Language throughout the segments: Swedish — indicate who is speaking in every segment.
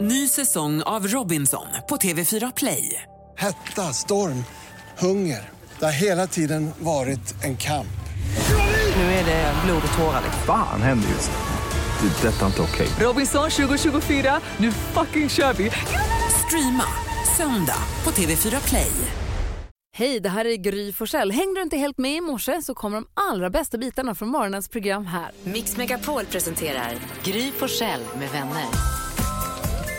Speaker 1: Ny säsong av Robinson på TV4 Play.
Speaker 2: Hetta, storm, hunger. Det har hela tiden varit en kamp.
Speaker 1: Nu är det blod och tårar.
Speaker 3: Fan händer just nu. Det. är Detta är inte okej.
Speaker 1: Robinson 2024, nu fucking kör vi! Streama söndag på TV4 Play.
Speaker 4: Hej, det här är Gry Forssell. Hängde du inte helt med i morse så kommer de allra bästa bitarna från morgonens program här.
Speaker 5: Mix Megapol presenterar Gry Forssell med vänner.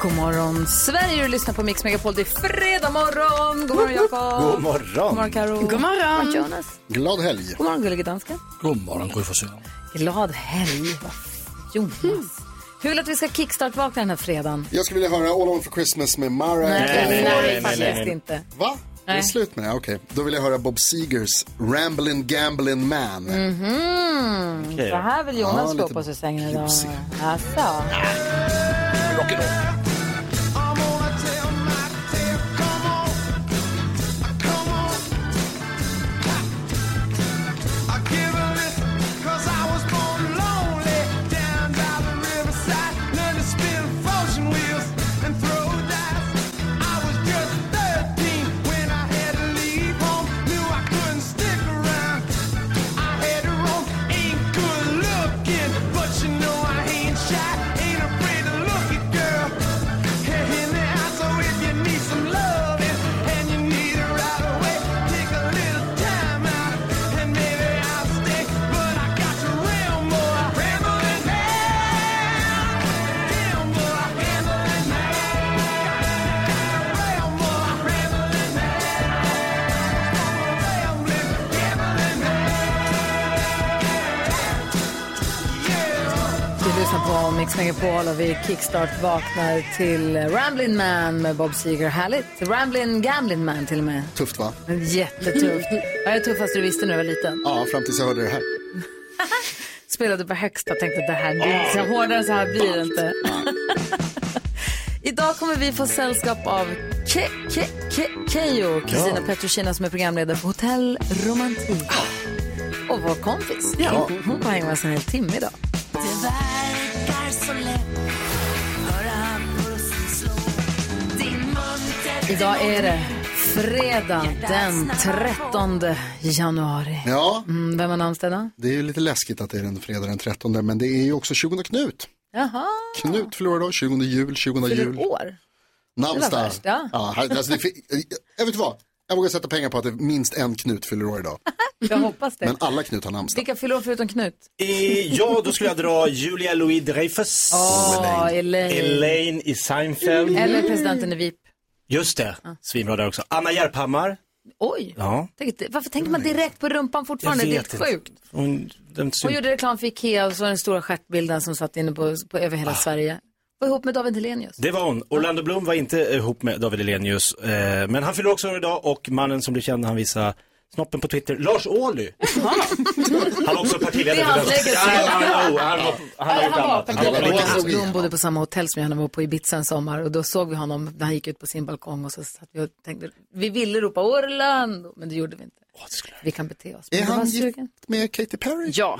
Speaker 4: God morgon Sverige, du lyssnar på Mix Megapol. Det är fredag morgon. God morgon Jakob.
Speaker 6: God morgon.
Speaker 4: God morgon Karo. God morgon Jonas.
Speaker 6: Glad helg.
Speaker 4: God morgon gullige dansken. Mm.
Speaker 7: God morgon, Gry Forssell.
Speaker 4: Glad helg. Vad f- Jonas. Hur vill du att vi ska kickstart-vakna den här fredagen?
Speaker 6: Jag skulle vilja höra All on for Christmas med Mariah Carey.
Speaker 4: faktiskt inte.
Speaker 6: Va? Är det slut med det? Okej. Då vill jag höra Bob Segers Ramblin' Gamblin' Man.
Speaker 4: Mm. Mhm. Så här vill Jonas
Speaker 6: Ja,
Speaker 4: gå
Speaker 6: lite
Speaker 4: på sig i sängen idag.
Speaker 6: bjussig.
Speaker 4: Alltså. Du lyssnar på Mix Megapol och vi kickstart vaknar till Ramblin' Man med Bob Seger. Härligt. Ramblin' Gamblin' Man till och med.
Speaker 6: Tufft va?
Speaker 4: Jättetufft. Vad är det tuffaste du visste när du var liten?
Speaker 6: Ja, fram tills jag hörde det här.
Speaker 4: Spelade på högsta tänkte att det här blir så hårdare än så här blir det inte. Idag kommer vi få sällskap av Ke- Ke- Ke- Keyyo, Kristina Petrushina som är programledare för Hotell Romantik. Och vår kompis.
Speaker 6: Ja.
Speaker 4: Hon kommer hänga med oss en hel timme idag. Idag är det fredag den 13 januari.
Speaker 6: Ja,
Speaker 4: Mm, vem har namnsdag idag?
Speaker 6: det är ju lite läskigt att det är den fredag den 13, men det är ju också 20 Knut.
Speaker 4: Jaha,
Speaker 6: Knut förlorar då, 20 jul, 20
Speaker 4: fyller
Speaker 6: jul.
Speaker 4: år. Det var
Speaker 6: Namnsdag.
Speaker 4: värst, ja.
Speaker 6: Ja, här- alltså det fin- jag vet vad? Jag vågar sätta pengar på att det är minst en Knut fyller år idag.
Speaker 4: Jag hoppas det.
Speaker 6: Men alla Knut har namnsdag.
Speaker 4: Vilka fyller år förutom Knut?
Speaker 8: Eh, ja, då skulle jag dra Julia Louis-Dreyfus.
Speaker 4: Åh, Elaine.
Speaker 8: Elaine i Seinfeld.
Speaker 4: Eller presidenten i VIP.
Speaker 8: Just det, svinbra där också. Anna Järphammar.
Speaker 4: Oj,
Speaker 8: Ja.
Speaker 4: Tänk- varför tänker man direkt på rumpan fortfarande? Det är helt sjukt.
Speaker 8: Hon, den
Speaker 4: Hon
Speaker 8: syn...
Speaker 4: gjorde reklam för Ikea och så den stora stjärtbilden som satt inne på, på över hela Sverige. Var ihop med David Hellenius.
Speaker 8: Det var hon. Orlando Bloom var inte eh, ihop med David Elenius. Eh, men han fyller också år idag och mannen som blev känd när han visade snoppen på Twitter, Lars Ohly. han är också partiledare
Speaker 4: Det är
Speaker 8: för Vänstern.
Speaker 4: hans legacy.
Speaker 8: Nej, han- oh, han var- Han har gjort annat.
Speaker 6: det var
Speaker 4: Jag och
Speaker 6: lite
Speaker 4: hans
Speaker 6: så.
Speaker 4: bror bodde på samma hotell som jag när var på Ibiza en sommar och då såg vi honom när han gick ut på sin balkong och så satt vi och tänkte, vi ville ropa Orlando, men det gjorde vi inte. Vi kan bete oss. Men
Speaker 6: Är
Speaker 4: det var
Speaker 6: han gift
Speaker 4: sugen.
Speaker 6: med Katy Perry?
Speaker 9: Ja,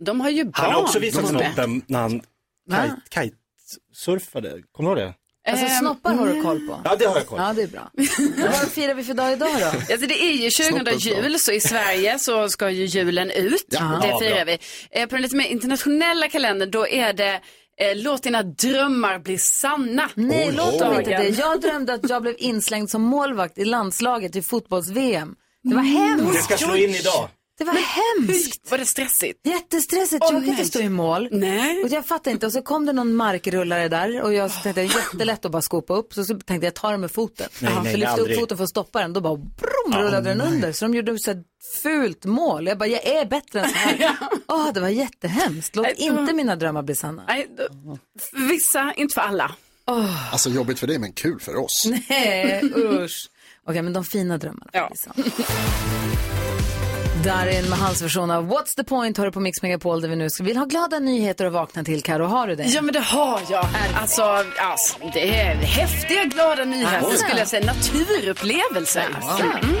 Speaker 9: de har ju barn.
Speaker 8: Han har också visat
Speaker 9: Tobbe.
Speaker 8: snoppen när han
Speaker 4: Va?
Speaker 8: kite- kite-surfade. Kommer du ihåg det?
Speaker 4: Alltså
Speaker 9: Ehm,
Speaker 4: snoppar har du koll på?
Speaker 8: Ja, det har jag koll på.
Speaker 4: Ja, det är bra. Vad firar vi för dag idag då?
Speaker 9: Alltså det är ju 20
Speaker 6: Snoppen, ja.
Speaker 9: jul, så i Sverige så ska ju julen ut.
Speaker 8: Ja,
Speaker 9: Det
Speaker 8: bra.
Speaker 9: firar vi. Eh, På den lite mer internationella kalendern, då är det eh, Låt dina drömmar bli sanna.
Speaker 4: Nej,
Speaker 6: Oj.
Speaker 4: låt dem inte det.
Speaker 9: Dagen.
Speaker 4: Jag drömde att jag blev inslängd som målvakt i landslaget i fotbolls-VM. Det var
Speaker 9: Mm.
Speaker 4: hemskt.
Speaker 8: Det ska slå in idag.
Speaker 4: Det var hemskt.
Speaker 9: Var det stressigt?
Speaker 4: Jättestressigt. jag kan inte stå i mål.
Speaker 9: Nej.
Speaker 4: Och jag fattade inte. Och så kom det någon markrullare där och jag tänkte det är jättelätt att bara skopa upp. Så, så tänkte jag ta den med foten.
Speaker 8: Nej, nej,
Speaker 4: så lyfte jag upp
Speaker 8: aldrig.
Speaker 4: foten för att stoppa den. Då bara brum, rullade den under. Så de gjorde så här fult mål. Jag bara, jag är bättre än så här. Åh, det var jättehemskt. Låt
Speaker 9: Nej, det var-
Speaker 4: inte mina drömmar bli sanna.
Speaker 9: Nej, då- för vissa, inte för alla.
Speaker 6: Alltså jobbigt för dig, men kul för oss.
Speaker 4: Nej, Eh, usch. Okej, men de fina drömmarna. liksom.
Speaker 9: Ja.
Speaker 4: Darin med hans version av What's the point hör du på Mix Megapol där vi nu ska, vill ha glada nyheter att vakna till. Karo, har du det?
Speaker 9: Ja men det har jag. Alltså, alltså det är häftiga glada nyheter
Speaker 4: Oj.
Speaker 9: skulle jag säga. Naturupplevelser. Mm.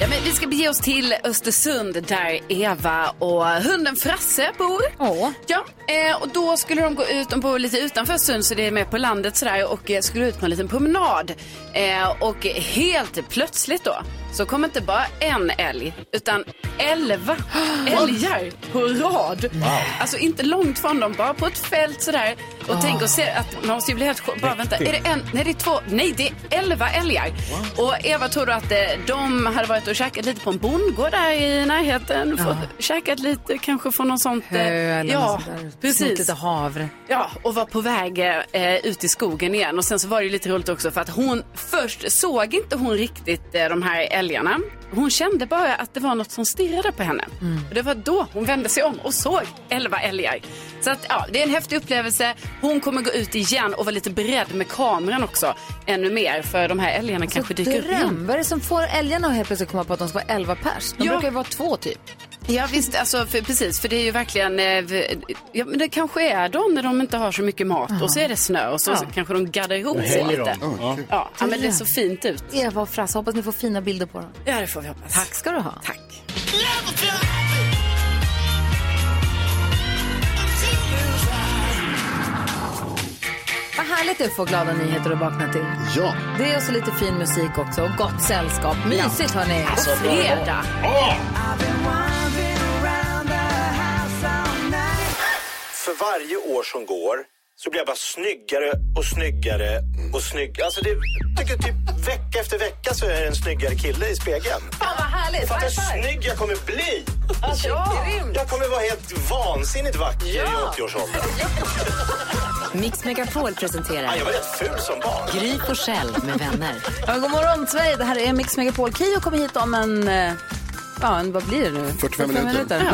Speaker 9: Ja, men vi ska bege oss till Östersund där Eva och hunden Frasse bor.
Speaker 4: Åh.
Speaker 9: Ja, eh, och då skulle de gå ut, de bor lite utanför Östersund så det är mer på landet sådär och eh, skulle ut på en liten promenad. Eh, och helt plötsligt då så kommer inte bara en älg utan elva älgar på rad. Alltså inte långt från dem, bara på ett fält sådär. Och tänk och se att man måste ju bli helt chock- bara vänta, är det en, nej det är två, nej det är elva älgar. Och Eva tror då att eh, de hade varit och käkat lite på en bondgård där i närheten. Få, käkat lite kanske från någon sånt. eh,
Speaker 4: Hö eller
Speaker 9: ja,
Speaker 4: något sånt där. Snott
Speaker 9: precis.
Speaker 4: lite havre.
Speaker 9: Ja, och var på väg eh, ut i skogen igen. Och sen så var det ju lite roligt också för att hon först såg inte hon riktigt eh, de här älgarna. Hon kände bara att det var något som stirrade på henne. Och det var då hon vände sig om och såg elva älgar. Så att, ja, det är en häftig upplevelse. Hon kommer gå ut igen och vara lite beredd med kameran också. Ännu mer, för de här älgarna kanske dyker upp igen.
Speaker 4: Dröm, vad är det som får älgarna att helt plötsligt komma på att de ska vara elva pers? De
Speaker 9: Ja.
Speaker 4: brukar ju vara två typ.
Speaker 9: Ja visst, alltså, för, precis, för det är ju verkligen, eh, v- ja, men det kanske är de när de inte har så mycket mat och så är det snö och så, så kanske de gaddar ihop sig
Speaker 8: Hänger
Speaker 9: lite.
Speaker 8: de? Ja.
Speaker 9: Ja, ja, men det ser fint ut.
Speaker 4: Eva och Frasse, hoppas ni får fina bilder på dem.
Speaker 9: Ja, det får vi hoppas.
Speaker 4: Tack ska du ha.
Speaker 9: Tack.
Speaker 4: Vad härligt det är att få glada nyheter att vakna till.
Speaker 6: Ja.
Speaker 4: Det är också lite fin musik också och gott sällskap. Mysigt hörni.
Speaker 9: Alltså, fredag.
Speaker 8: För varje år som går så blir jag bara snyggare och snyggare och snyggare. Alltså det, jag tycker typ vecka efter vecka så är jag en snyggare kille i spegeln.
Speaker 4: Fan vad härligt. Alltså,
Speaker 8: Fatta hur snygg jag kommer bli! Jag kommer vara helt vansinnigt vacker i 80-årsåldern.
Speaker 5: Mix Megapol presenterar
Speaker 8: Nej, Jag var rätt ful som barn.
Speaker 5: Gry på Själv med vänner.
Speaker 4: Ja, god morgon Sverige, det här är Mix Megapol. Keyyo kommer hit om en, eh, ja en, vad blir det nu?
Speaker 6: 45 minuter.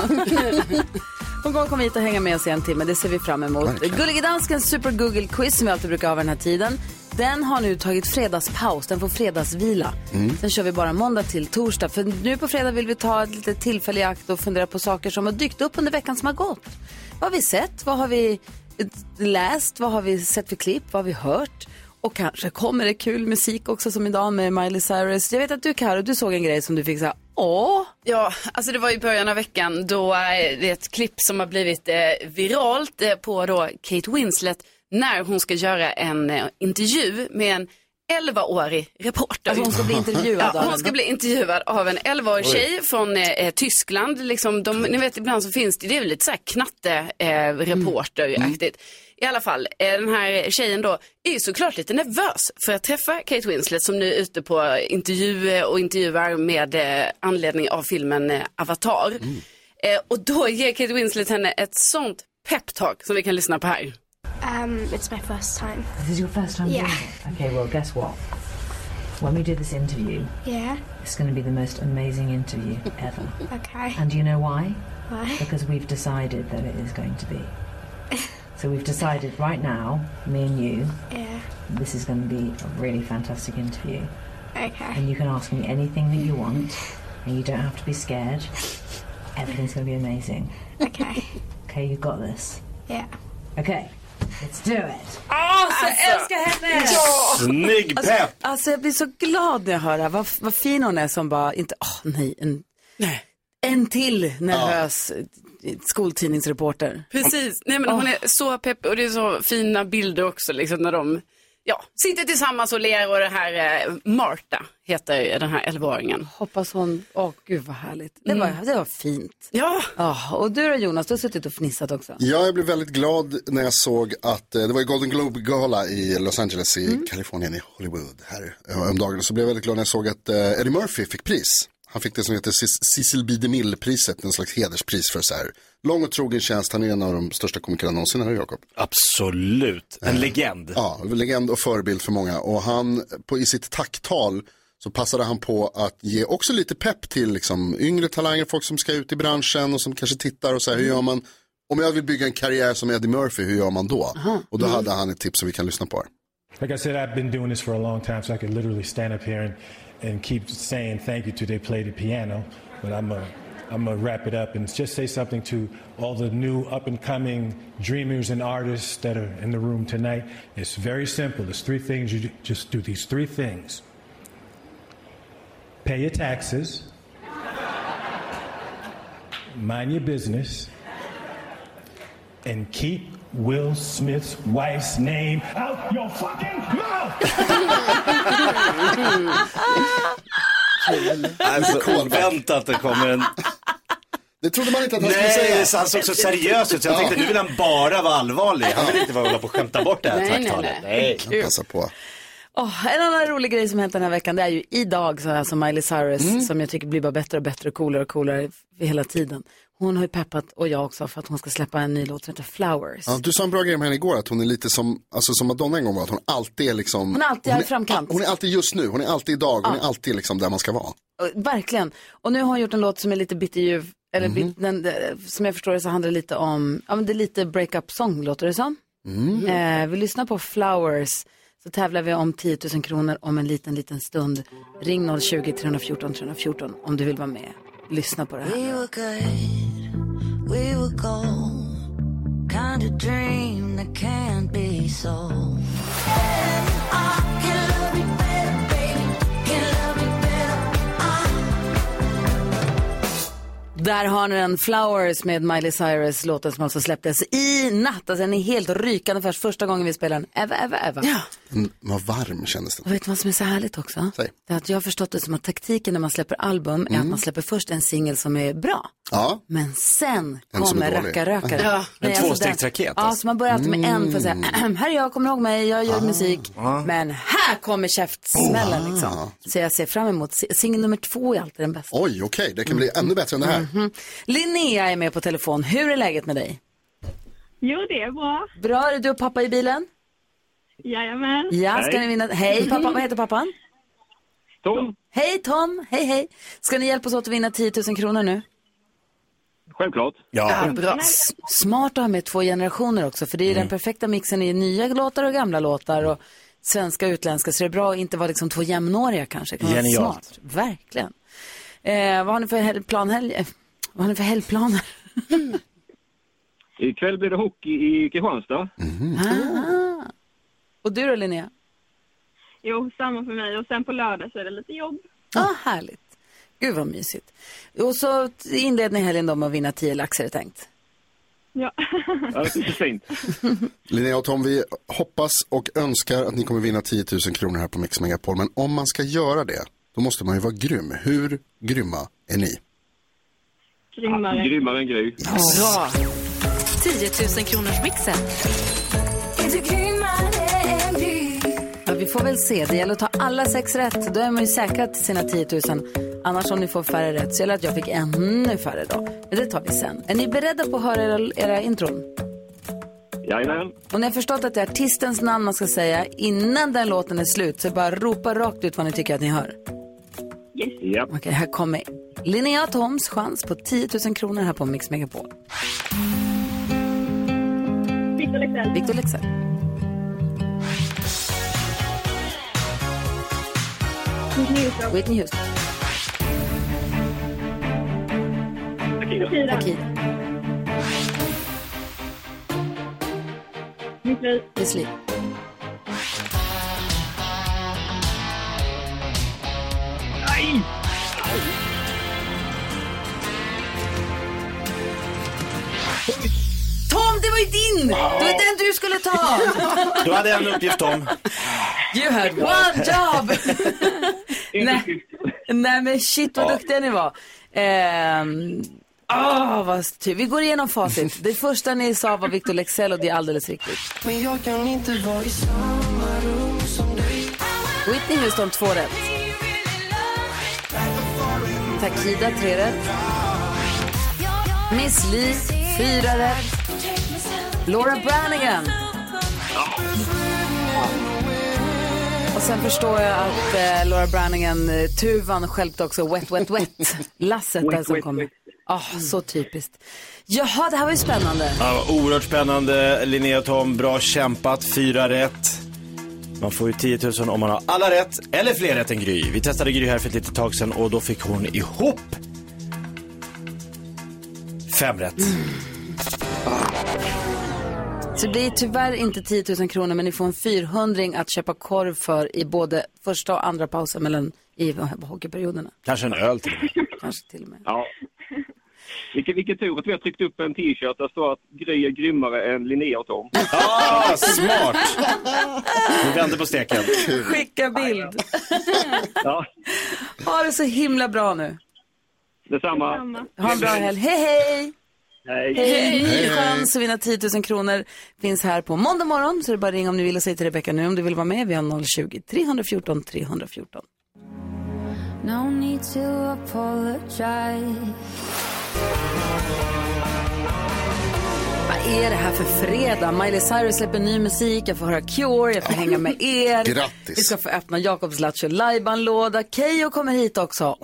Speaker 4: Hon kommer komma hit och hänga med oss i en timme, det ser vi fram emot.
Speaker 6: Verkligen.
Speaker 4: Gullige Danskens Super Google Quiz som vi alltid brukar ha vid den här tiden. Den har nu tagit fredagspaus, den får fredagsvila. Sen kör vi bara måndag till torsdag. För nu på fredag vill vi ta ett litet tillfälle i akt och fundera på saker som har dykt upp under veckan som har gått. Vad har vi sett? Vad har vi eh, läst? Vad har vi sett för klipp? Vad har vi hört? Och kanske kommer det kul musik också som idag med Miley Cyrus. Jag vet att du Karo, du såg en grej som du fick säga, åh,
Speaker 9: Ja, alltså det var i början av veckan då eh, det är ett klipp som har blivit eh, viralt eh, på då Kate Winslet när hon ska göra en eh, intervju med en 11-årig reporter.
Speaker 4: alltså hon ska bli intervjuad
Speaker 9: Ja,
Speaker 4: av
Speaker 9: hon ska bli intervjuad av en 11-årig tjej från eh, eh, Tyskland. Liksom de, ni vet ibland så finns det, det är väl lite så här knatte
Speaker 4: Mm.
Speaker 9: eh, reporteraktigt. I alla fall, eh, den här tjejen då är ju såklart lite nervös för att träffa Kate Winslet som nu är ute på intervju eh, och intervjuar med eh, anledning av filmen eh, Avatar.
Speaker 4: Mm.
Speaker 9: Eh, och då ger Kate Winslet henne ett sånt peptalk som vi kan lyssna på här.
Speaker 7: Um, it's my first time.
Speaker 10: This is your first time
Speaker 7: Yeah.
Speaker 10: doing it. Okay, well, guess what? When we do this interview,
Speaker 7: Yeah.
Speaker 10: it's going to be the most amazing interview ever.
Speaker 7: Okay.
Speaker 10: And do you know why?
Speaker 7: Why?
Speaker 10: Because we've decided that it is going to be. So we've decided right now, me and you,
Speaker 7: Yeah.
Speaker 10: this is going to be a really fantastic interview.
Speaker 7: Okay.
Speaker 10: And you can ask me anything that you want, and you don't have to be scared. Everything's going to be amazing.
Speaker 7: Okay.
Speaker 10: Okay, you've got this.
Speaker 7: Yeah.
Speaker 10: Okay, let's do it.
Speaker 8: Snygg pepp!
Speaker 4: Alltså jag blir så glad när jag hör det här. Vad, vad fin hon är som bara inte, åh nej, en, en till nervös eh, skoltidningsreporter.
Speaker 9: Precis, nej men hon är så pepp och det är så fina bilder också liksom när de ja, sitter tillsammans och ler och det här eh, Marta heter den här 11-åringen.
Speaker 4: Hoppas hon, åh gud vad härligt. Det var, det var fint.
Speaker 9: Ja,
Speaker 4: Ja, och du då Jonas, du har suttit och fnissat också.
Speaker 6: Ja, jag blev väldigt glad när jag såg att eh, det var ju Golden Globe-gala i Los Angeles i Kalifornien, i Hollywood, här eh, om dagen. Så blev jag väldigt glad när jag såg att eh, Eddie Murphy fick pris. Han fick det som heter Cis- Cecil B. DeMille-priset, en slags hederspris för så här lång och trogen tjänst. Han är en av de största komikerna någonsin, här Jakob.
Speaker 8: Absolut. En legend.
Speaker 6: Ja, legend och förebild för många. Och han, på, i sitt tacktal så passade han på att ge också lite pepp till liksom, yngre talanger, folk som ska ut i branschen och som kanske tittar och så här, hur gör man? Om jag vill bygga en karriär som Eddie Murphy, hur gör man då? Och
Speaker 4: Mm.
Speaker 6: då hade han ett tips som vi kan lyssna på. här.
Speaker 11: Like I said, I've been doing this for a long time, so I could literally stand up here and, and keep saying thank you to they play the piano, but I'm a I'm gonna wrap it up and just say something to all the new up and coming dreamers and artists that are in the room tonight. It's very simple. There's three things you do. just do these three things. Pay your taxes, mind your business, and keep Will Smith's wife's name out your fucking mouth!
Speaker 8: Alltså, vänta att det kommer en...
Speaker 6: Det trodde man inte att han skulle säga.
Speaker 8: Nej, det han såg så seriös ut så jag tänkte nu vill han bara vara allvarlig. Han vill inte bara hålla på och skämta bort det här
Speaker 4: Nej, nej,
Speaker 8: traktalet.
Speaker 4: nej. Kul.
Speaker 6: Passa på.
Speaker 4: Åh, en annan rolig grej som hänt den här veckan det är ju idag, så alltså Miley Cyrus,
Speaker 5: Mm.
Speaker 4: som jag tycker blir bara bättre och bättre och coolare och coolare hela tiden. Hon har ju peppat, och jag också, för att hon ska släppa en ny låt som heter Flowers.
Speaker 6: Ja, du sa en bra grej om henne igår, att hon är lite som, alltså som Madonna en gång var, att hon alltid är liksom.
Speaker 4: Hon är alltid i framkant.
Speaker 6: Hon är alltid just nu, hon är alltid idag, hon
Speaker 4: Ja.
Speaker 6: är alltid liksom där man ska vara.
Speaker 4: Och- Eh, Verkligen. Och nu har hon gjort en låt som är lite bitterljuv, eller bit, den, eh, som jag förstår det så handlar det lite om, ja men det är lite breakup-sång låter det som. Eh, vi lyssnar på Flowers, så tävlar vi om 10 000 kronor om en liten, liten stund. Ring 020-314 314 om du vill vara med. Lyssna på det här.
Speaker 12: We were good, we were gold. Kind of dream that can't be sold. And I can love you better, baby. Can love you better.
Speaker 4: Där har ni den, Flowers med Miley Cyrus, låten som alltså släpptes i natt. Alltså den är helt rykande färs, första gången vi spelar den. Eva, Eva, Eva. Ja.
Speaker 6: Den var Mm, varm kändes det.
Speaker 4: Och vet du vad som är så härligt också? Det är att jag har förstått det som att taktiken när man släpper album är
Speaker 6: Mm.
Speaker 4: att man släpper först en singel som är bra.
Speaker 6: Ja.
Speaker 4: Men sen
Speaker 6: En som
Speaker 4: kommer
Speaker 6: är dålig.
Speaker 4: rackarrökare.
Speaker 6: Ja. En
Speaker 4: Nej, alltså
Speaker 6: tvåstegsraket,
Speaker 4: den- Ja,
Speaker 6: alltså.
Speaker 4: så man börjar alltid med en för att säga,
Speaker 6: Mm.
Speaker 4: här är jag, kommer ihåg mig, jag
Speaker 6: Ah.
Speaker 4: gör musik.
Speaker 6: Ja.
Speaker 4: Men här kommer
Speaker 6: Ah.
Speaker 4: käftsmällen liksom. Så jag ser fram emot, si- singel nummer två är alltid den bästa.
Speaker 6: Oj, okej, det kan bli ännu bättre än det här.
Speaker 4: Mhm. Linnea är med på telefon. Hur är läget med dig?
Speaker 13: Jo, det är bra.
Speaker 4: Bra, är du och pappa i bilen?
Speaker 13: Jajamän.
Speaker 4: Ja, ska ni vinna? Hej pappa, vad heter pappan?
Speaker 14: Tom.
Speaker 4: Hej Tom, hej hej. Ska ni hjälpa oss åt att vinna 10 000 kronor nu? Ah,
Speaker 14: Självklart.
Speaker 4: S- Smart att ha med två generationer också, för det är ju den perfekta mixen i nya låtar och gamla låtar och svenska och utländska, så det är bra att inte vara liksom två jämnåriga kanske. Det kan vara
Speaker 8: Genialt.
Speaker 4: Smart, verkligen. Eh, vad har ni för hel- planhelg? eh, Vad har ni för helgplaner?
Speaker 14: Ikväll blir det hockey i Kristianstad.
Speaker 4: Ah. Och du då Linnea?
Speaker 13: Jo, samma för mig. Och sen på lördag så är det lite jobb.
Speaker 4: Ja, ah, härligt. Gud vad mysigt. Och så t- inleder ni helgen då med att vinna 10 lax är det tänkt.
Speaker 13: Ja.
Speaker 14: Ja, det är fint.
Speaker 6: Linnea och Tom, vi hoppas och önskar att ni kommer vinna 10 000 kronor här på Mix Megapol. Men om man ska göra det, då måste man ju vara grym. Hur grymma är ni?
Speaker 13: Grymmare.
Speaker 14: Grymmare än Gry.
Speaker 5: 10 000 kronors mixen.
Speaker 12: Är du grymmare än vi?
Speaker 4: Ja, vi får väl se. Det gäller att ta alla sex rätt. Då är man ju säkrat sina 10 000. Annars om ni får färre rätt så gäller det att jag fick ännu färre då. Men det tar vi sen. Är ni beredda på att höra era, era intron?
Speaker 14: Jajamän.
Speaker 4: Och ni har förstått att det är artistens namn man ska säga innan den låten är slut. Så bara ropa rakt ut vad ni tycker att ni hör.
Speaker 14: Japp.
Speaker 4: Okej, här kommer Linnea Toms chans på 10 000 kronor här på Mix Megapol.
Speaker 13: Victor Leksell.
Speaker 4: Victor Leksell. Whitney Houston.
Speaker 13: Akida. Mitt liv.
Speaker 4: Miss Li.
Speaker 14: Aj!
Speaker 4: Tom, det var ju din! Det var den du skulle ta!
Speaker 8: Du hade en uppgift om.
Speaker 4: You had one job! Nej. Nej men shit vad
Speaker 8: Ja.
Speaker 4: duktiga ni var. Ehm, ah, vad styr. Vi går igenom facit. Det första ni sa var Victor Leksell och det är alldeles riktigt.
Speaker 12: Men jag kan inte vara i samma rum som dig.
Speaker 4: Whitney Houston, två rätt. Takida, tre rätt. Miss Li, fyra rätt. Laura Branigan. Och sen förstår jag att eh, Laura Branigan, eh, tuvan, stjälpte också Wet Wet Wet. Lasset där som kommer. Ah, så typiskt. Jaha, det här var ju spännande.
Speaker 8: Ja, vad oerhört spännande. Linnea och Tom, bra kämpat. Fyra rätt. Man får ju 10 000 om man har alla rätt, eller fler rätt än Gry. Vi testade Gry här för ett litet tag sedan och då fick hon ihop fem rätt.
Speaker 4: Så det blir tyvärr inte 10 000 kronor, men ni får en 400 att köpa korv för i både första och andra pausen mellan i hockeyperioderna.
Speaker 8: Kanske en öl till och med.
Speaker 4: Kanske till och med.
Speaker 8: Ja.
Speaker 14: Vilken, vilken tur att vi har tryckt upp en t-shirt där det står att Gry är grymmare än Linnea och Tom.
Speaker 8: Ah, smart! Vi vänder på steken.
Speaker 4: Skicka bild.
Speaker 14: Ja,
Speaker 4: Ha det så himla bra nu.
Speaker 14: detsamma.
Speaker 4: Ha en bra helg. Hej, hej!
Speaker 14: Hej.
Speaker 4: Hej! Ny chans att vinna 10 000 kronor finns här på måndag morgon. Så det är bara att ringa om ni vill och säg till Rebecka nu om du vill vara med. Vi har 020-314 314.
Speaker 12: No need to apologize.
Speaker 4: Vad är det här för fredag? Miley Cyrus släpper ny musik, jag får höra Cure, jag får hänga med er.
Speaker 8: Grattis.
Speaker 4: Vi ska få öppna Jakobs Lattjo Lajban-låda. Keyyo kommer hit också.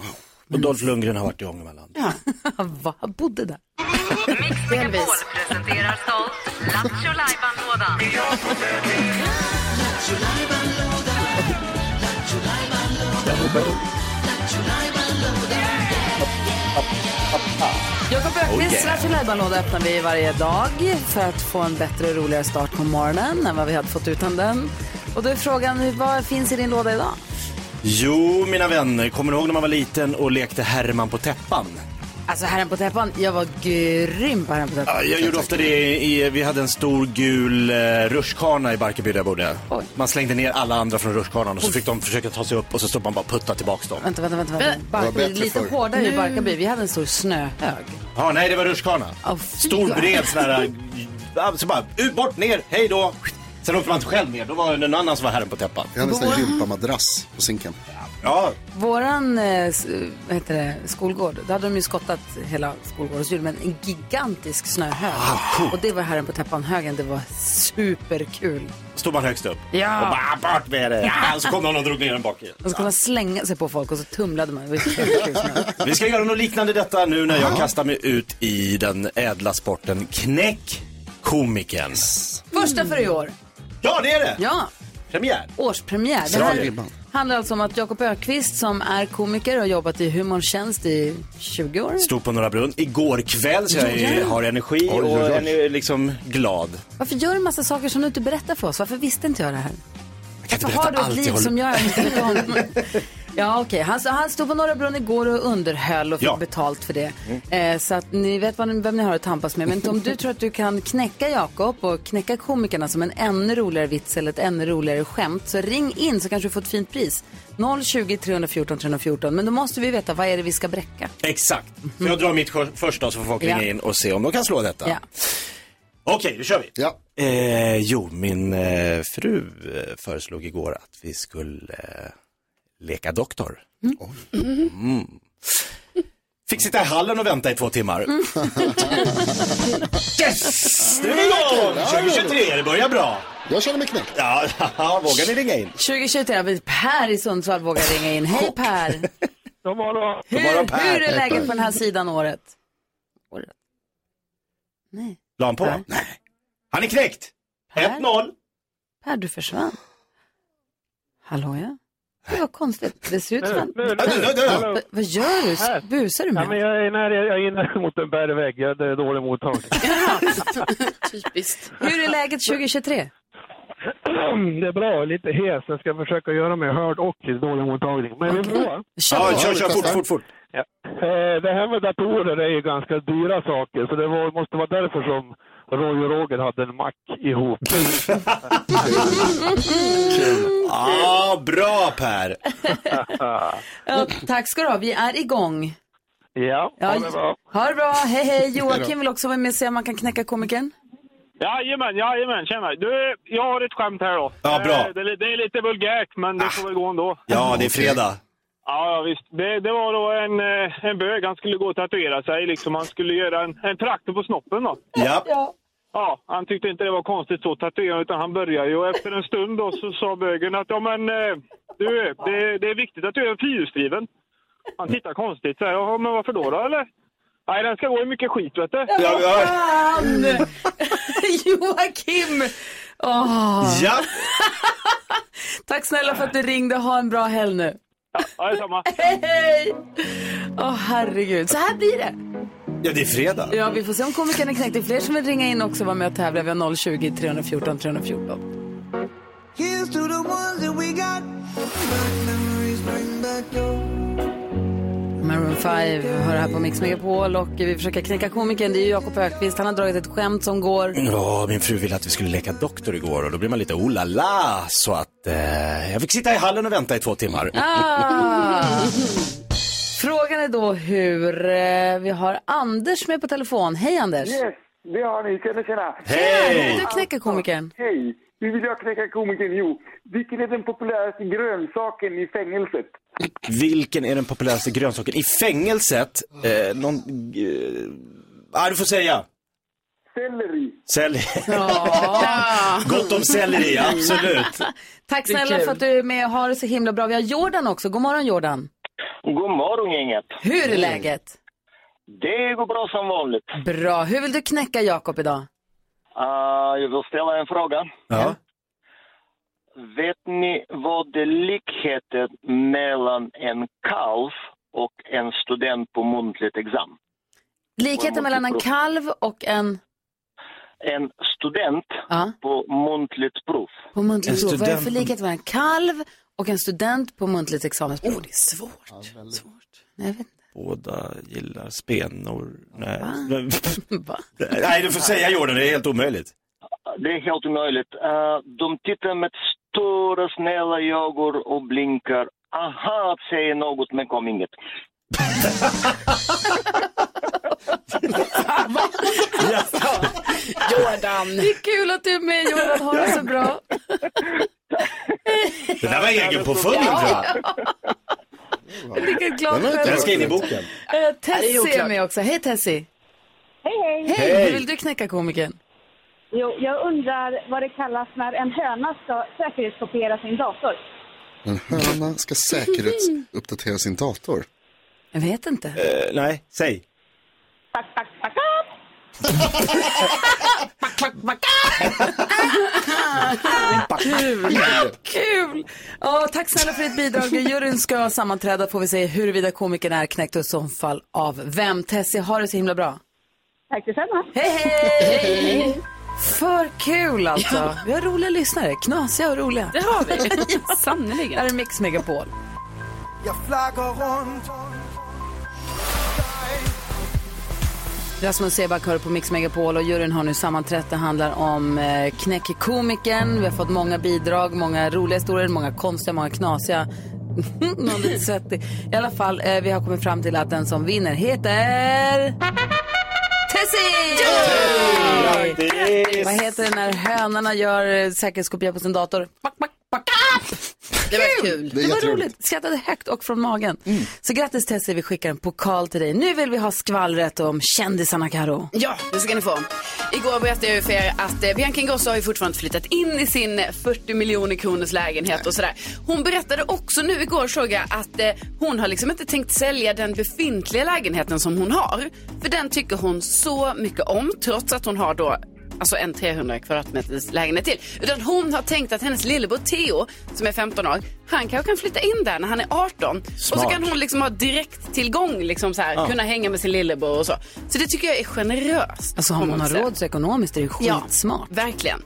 Speaker 8: Och Dolph Lundgren har varit i Ångermanland.
Speaker 4: Ja. Va? Han bodde där.
Speaker 5: Megapol presenterar stolt Lattjo Lajban-lådan.
Speaker 4: Jakob Öqvists
Speaker 12: Oh, yeah.
Speaker 4: Lattjo Lajban-låda öppnar vi varje dag för att få en bättre och roligare start på morgonen än vad vi hade fått utan den. Och då är frågan, hur- vad finns i din låda idag?
Speaker 8: Jo, mina vänner, kommer ni ihåg när man var liten och lekte Herman på täppan?
Speaker 4: Alltså Herren på täppan, jag var grym på Herren på täppan.
Speaker 8: Ja, Ah, Jag gjorde ofta det i, vi hade en stor gul eh, rutschkana i Barkarby där jag bodde. Man slängde ner alla andra från rutschkanan och så fick de försöka ta sig upp och så stod man bara och puttade tillbaks dem.
Speaker 4: Vänta, vänta, vänta. vänta.
Speaker 8: Det var
Speaker 4: Barkarby,
Speaker 8: bättre
Speaker 4: lite
Speaker 8: förr.
Speaker 4: hårdare i
Speaker 8: Nu.
Speaker 4: Barkarby. Vi hade en stor snöhög.
Speaker 8: Ja, nej det var rutschkana. stor bred sån här, ja, så bara ut, bort, ner, hej då. Sen åkte man inte själv ner, då var det någon annan som var herren på täppan.
Speaker 6: Jag hade en sån här gympamadrass på sinken.
Speaker 8: Ja,
Speaker 4: Våran eh, s- vad heter det, skolgård, där hade de ju skottat hela skolgården så gjorde man en gigantisk snöhög. och det var Herren på täppan-högen, det var superkul.
Speaker 8: stod man högst upp.
Speaker 4: Ja.
Speaker 8: Och bara "Ah, bort med det. Ja. Och så kom någon och drog ner den bak igen.
Speaker 4: Och så kunde man slänga sig på folk och så tumlade man. Det var ju superkul.
Speaker 8: Vi ska göra något liknande detta nu när jag kastar mig ut i den ädla sporten knäck komikern.
Speaker 4: Första för i år.
Speaker 8: Ja, det är det!
Speaker 4: Ja.
Speaker 8: Premiär.
Speaker 4: Årspremiär. Det
Speaker 8: Dra
Speaker 4: här
Speaker 8: ribban.
Speaker 4: handlar alltså om att Jakob Ökvist som är komiker och har jobbat i humorns tjänst i 20 år.
Speaker 8: Stod på Norra Brunn igår kväll så jag
Speaker 4: Ja,
Speaker 8: är,
Speaker 4: ja.
Speaker 8: har energi
Speaker 4: Oj, oj, oj.
Speaker 8: och jag är liksom glad.
Speaker 4: Varför gör du en massa saker som du inte berättar för oss? Varför visste inte jag det här? Varför har du
Speaker 8: berätta
Speaker 4: ett
Speaker 8: allt
Speaker 4: liv
Speaker 8: jag håller-
Speaker 4: som jag inte vet om? Ja, okej. Han, han stod på Norra Brunn igår och underhöll och fick
Speaker 12: Ja.
Speaker 4: betalt för det.
Speaker 8: Mm.
Speaker 4: Eh, så att ni vet vad, vem ni har att tampas med. Men om du tror att du kan knäcka Jakob och knäcka komikerna som en ännu roligare vits eller ett ännu roligare skämt, så ring in så kanske du får ett fint pris. 020 314 314. Men då måste vi veta, vad är det vi ska bräcka?
Speaker 8: Exakt. Så jag drar mitt skör- första så får folk ringa
Speaker 4: Ja.
Speaker 8: in och se om de kan slå detta.
Speaker 4: Ja.
Speaker 8: Okej, då kör vi. Eh, jo, min eh, fru eh, föreslog igår att vi skulle eh, leka doktor. Mm. Fick sitta i hallen och vänta i två timmar. yes! Nu är vi igång! 2023, det börjar bra.
Speaker 6: Jag känner mig knäckt.
Speaker 8: Ja, vågar ni ringa in?
Speaker 4: 2023, vi- Per i Sundsvall vågar ringa in. Hej Per!
Speaker 14: De har då.
Speaker 4: Hur, hur är läget på den här sidan året?
Speaker 8: La han på? Nej. Han är knäckt! 1-0.
Speaker 4: Per, du försvann. Hallå ja. Det var konstigt. Det ser ut som...
Speaker 14: Nu, nu, nu, nu.
Speaker 4: Va- va- Vad gör du? S- Busar du
Speaker 14: Ja,
Speaker 4: med?
Speaker 14: men jag är nära, jag är nära mot en bergvägg. Jag är dålig mottagning.
Speaker 4: Typiskt. Hur är läget 2023?
Speaker 14: Det är bra, lite hes. Jag ska försöka göra mig hörd och till dålig mottagning. Men det är bra.
Speaker 4: Kör Ja, på. kör, kör, fort, fort,
Speaker 8: fort.
Speaker 14: Ja. Eh, Det här med datorer är ju ganska dyra saker, så det var, måste vara därför som Roy och Roger hade en mack ihop.
Speaker 8: ah, bra Per!
Speaker 4: Ja, tack ska du ha. Vi är igång.
Speaker 14: ja,
Speaker 4: Ja,
Speaker 14: ha det bra.
Speaker 4: Ha det bra. Hej, hej.
Speaker 14: Hej då.
Speaker 4: Joakim vill också vara med och se om man kan knäcka komikern.
Speaker 14: Jajamän, jajamän, tjena. Du, jag har ett skämt här då.
Speaker 8: Ja, bra. Ah.
Speaker 14: Eh, Det, är li- det är lite vulgärt, men det får väl gå ändå.
Speaker 8: Ja, det är fredag.
Speaker 14: Ja, ja visst. Det, det var då en, eh, en bög, han skulle gå och tatuera sig liksom. Han skulle göra en, en traktor på snoppen då.
Speaker 8: Ja.
Speaker 14: Ja, han tyckte inte det var konstigt så tatuera utan han började ju. Och efter en stund då så sa bögen att ja men eh, du, det, det är viktigt att du är fyrhjulsdriven. Han tittar konstigt så här, ja men varför då då eller? Nej, den ska gå i mycket skit vet du.
Speaker 4: Ja, vad fan! Joakim! Åh.
Speaker 8: Ja.
Speaker 4: Tack snälla för att du ringde. Ha en bra helg nu.
Speaker 14: Ja, detsamma.
Speaker 4: Hej, hej! Åh, herregud. Så här blir det.
Speaker 8: Ja, det är fredag.
Speaker 4: Ja, vi får se om komikern är knäckt. Det är fler som vill ringa in också och vara med och tävla. Vi har 020 314 314.
Speaker 12: Here's to the ones that we got. Black memories bring back your
Speaker 4: Maroon 5 hör här på Mix Megapol och vi försöker knäcka komikern. Det är ju Jakob Ökvist. Han har dragit ett skämt som går.
Speaker 8: Ja, min fru ville att vi skulle leka doktor igår och då blir man lite oh la la. Så att eh, jag fick sitta i hallen och vänta i två timmar.
Speaker 4: Ah! Frågan är då hur... eh, Vi har Anders med på telefon. Hej Anders!
Speaker 15: Yes, det har ni. Tjena, tjena.
Speaker 4: Hej! Du knäcker komikern.
Speaker 15: Hej. Hur vill jag knäcka komikern? Jo, vilken är den populäraste grönsaken i fängelset?
Speaker 8: Vilken är den populäraste grönsaken i fängelset? Eh, någon... Eh, ah, du får säga.
Speaker 15: Selleri.
Speaker 8: Selleri. Gott om selleri, absolut.
Speaker 4: Tack
Speaker 16: Det är
Speaker 4: snälla
Speaker 16: kul.
Speaker 4: för att du är med och har det så himla bra. Vi har Jordan också. God morgon Jordan!
Speaker 16: God morgon gänget!
Speaker 4: Hur är läget?
Speaker 16: Det går bra som vanligt.
Speaker 4: Bra. Hur vill du knäcka Jakob idag?
Speaker 16: Ah, jag vill ställa en fråga.
Speaker 8: Ja.
Speaker 16: Vet ni vad det är likheten mellan en kalv och en student på muntligt examen?
Speaker 4: Likheten mellan en kalv och en...
Speaker 16: En student på muntligt prov.
Speaker 4: På muntligt prov. Vad är det för likhet mellan en kalv och en student på muntligt examensprov? Oh, det är svårt. svårt. Nej, jag vet inte.
Speaker 8: Båda gillar spenor. Nej.
Speaker 4: Va?
Speaker 8: Nej, du får säga Jordan, det är helt omöjligt.
Speaker 16: Det är helt omöjligt. Eh, de tittar med stora snälla ögon och blinkar. Aha, säger något men kom inget.
Speaker 9: Jordan.
Speaker 4: Det är kul att du är med Jordan. Ha det så bra.
Speaker 8: Det där var egenpåfunnen tror jag.
Speaker 4: Vilket glad skämt.
Speaker 8: Den ska in i boken.
Speaker 4: Eh,
Speaker 13: det är
Speaker 4: Tessie är
Speaker 13: oklart.
Speaker 4: med också. Hej Tessie.
Speaker 13: Hej, hej!
Speaker 4: Hej. Hur vill du knäcka komikern?
Speaker 13: Jo, jag undrar vad det kallas när en höna ska säkerhetskopiera sin dator.
Speaker 6: En höna ska säkerhetsuppdatera sin dator.
Speaker 4: Jag vet inte.
Speaker 8: Eh. nej, säg.
Speaker 4: Kul! Kul! Ja, tack snälla för ditt bidrag. Juryn ska sammanträda får vi se huruvida komikern är knäckt och i så fall av vem. Tessie, ha det så himla bra.
Speaker 13: Tack detsamma.
Speaker 4: Hej, hej! För kul alltså. Vi har roliga lyssnare. Knasiga och roliga. Det har vi. Sannerligen. Det här är Mix Megapol.
Speaker 12: Jag flaggar runt.
Speaker 4: Rasmus Seback hör på Mix Megapol och juryn har nu sammanträtt. Det handlar om eh, Knäck komikern. Vi har fått många bidrag, många roliga historier, många konstiga, många knasiga. Någon lite svettig. I alla fall, eh, vi har kommit fram till att den som vinner heter... Tessie! Vad heter det när hönorna gör eh, säkerhetskopia på sin dator? Back, back, back. Det var kul.
Speaker 12: Det är
Speaker 4: Det var
Speaker 12: jätteroligt. Mm.
Speaker 4: roligt. Skrattade högt och från magen. Så grattis Tessie, vi skickar en pokal till dig. Nu vill vi ha skvallret om kändisarna Karo.
Speaker 9: Ja, det ska ni få. Igår berättade jag ju för er att eh, Bianca Ingrosso har ju fortfarande inte flyttat in i sin 40 miljoner kronors lägenhet och sådär. Hon berättade också nu igår såg jag att eh, hon har liksom inte tänkt sälja den befintliga lägenheten som hon har. För den tycker hon så mycket om trots att hon har då Alltså en 300 kvadratmeters lägenhet till. Utan hon har tänkt att hennes lillebror Theo, som är 15 år, han kanske kan flytta in där när han är 18. Och så
Speaker 12: Smart.
Speaker 9: kan hon liksom ha direkt tillgång liksom så här,
Speaker 4: Ja.
Speaker 9: kunna hänga med sin lillebror och så. Så det tycker jag är generöst.
Speaker 4: Alltså
Speaker 9: får
Speaker 4: har
Speaker 9: man
Speaker 4: man har
Speaker 9: säga.
Speaker 4: råd så ekonomiskt är det skitsmart.
Speaker 9: Ja, verkligen.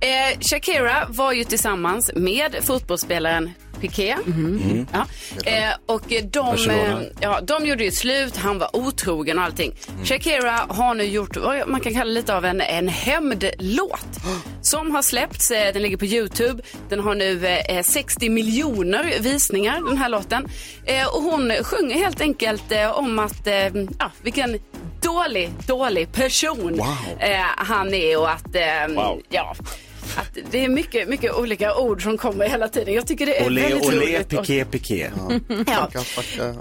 Speaker 9: Eh, Shakira var ju tillsammans med fotbollsspelaren Piqué.
Speaker 4: Mhm.
Speaker 12: Mm.
Speaker 9: Ja. Eh, och de, eh,
Speaker 12: Barcelona.
Speaker 9: ja, de gjorde ju slut, han var otrogen och allting.
Speaker 8: Mm.
Speaker 9: Shakira har nu gjort vad man kan kalla lite av en, en hämndlåt som har släppts. Eh, Den ligger på Youtube. Den har nu eh, 60 miljoner visningar, den här låten. Eh, Och hon sjunger helt enkelt eh, om att, eh, ja, vilken dålig, dålig person eh, han är och att, eh,
Speaker 12: Wow.
Speaker 9: ja. Att det är mycket, mycket olika ord som kommer hela tiden. Jag tycker det är
Speaker 8: Olé,
Speaker 9: Eh, väldigt
Speaker 8: olé,
Speaker 9: roligt.
Speaker 8: piké, piké.
Speaker 9: Ja.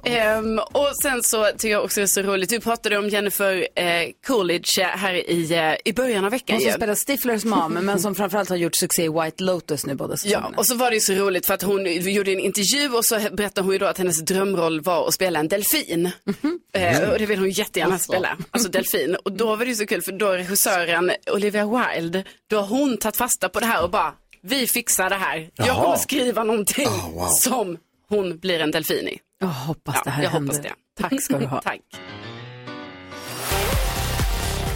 Speaker 9: Ehm, och sen så tycker jag också det är så roligt, du pratade om Jennifer eh, Coolidge eh, här i, eh, i början av veckan.
Speaker 4: Hon som
Speaker 9: ju.
Speaker 4: spelar Stiflers mom, men som framförallt har gjort succé i White Lotus nu båda
Speaker 9: Ja,
Speaker 4: säsongerna.
Speaker 9: och så var det ju så roligt för att hon gjorde en intervju och så berättade hon ju då att hennes drömroll var att spela en delfin. Eh, och det vill hon jättegärna
Speaker 4: Mhm. Alltså.
Speaker 9: spela, alltså delfin. Och då var det ju så kul för då regissören Olivia Wilde, då har hon tagit fasta på det här och bara, vi fixar det här. Jag
Speaker 4: Jaha.
Speaker 9: kommer skriva någonting som hon blir en delfin i.
Speaker 4: Jag hoppas det här
Speaker 9: jag
Speaker 4: händer.
Speaker 9: hoppas det.
Speaker 4: Tack ska du ha.
Speaker 9: Tack.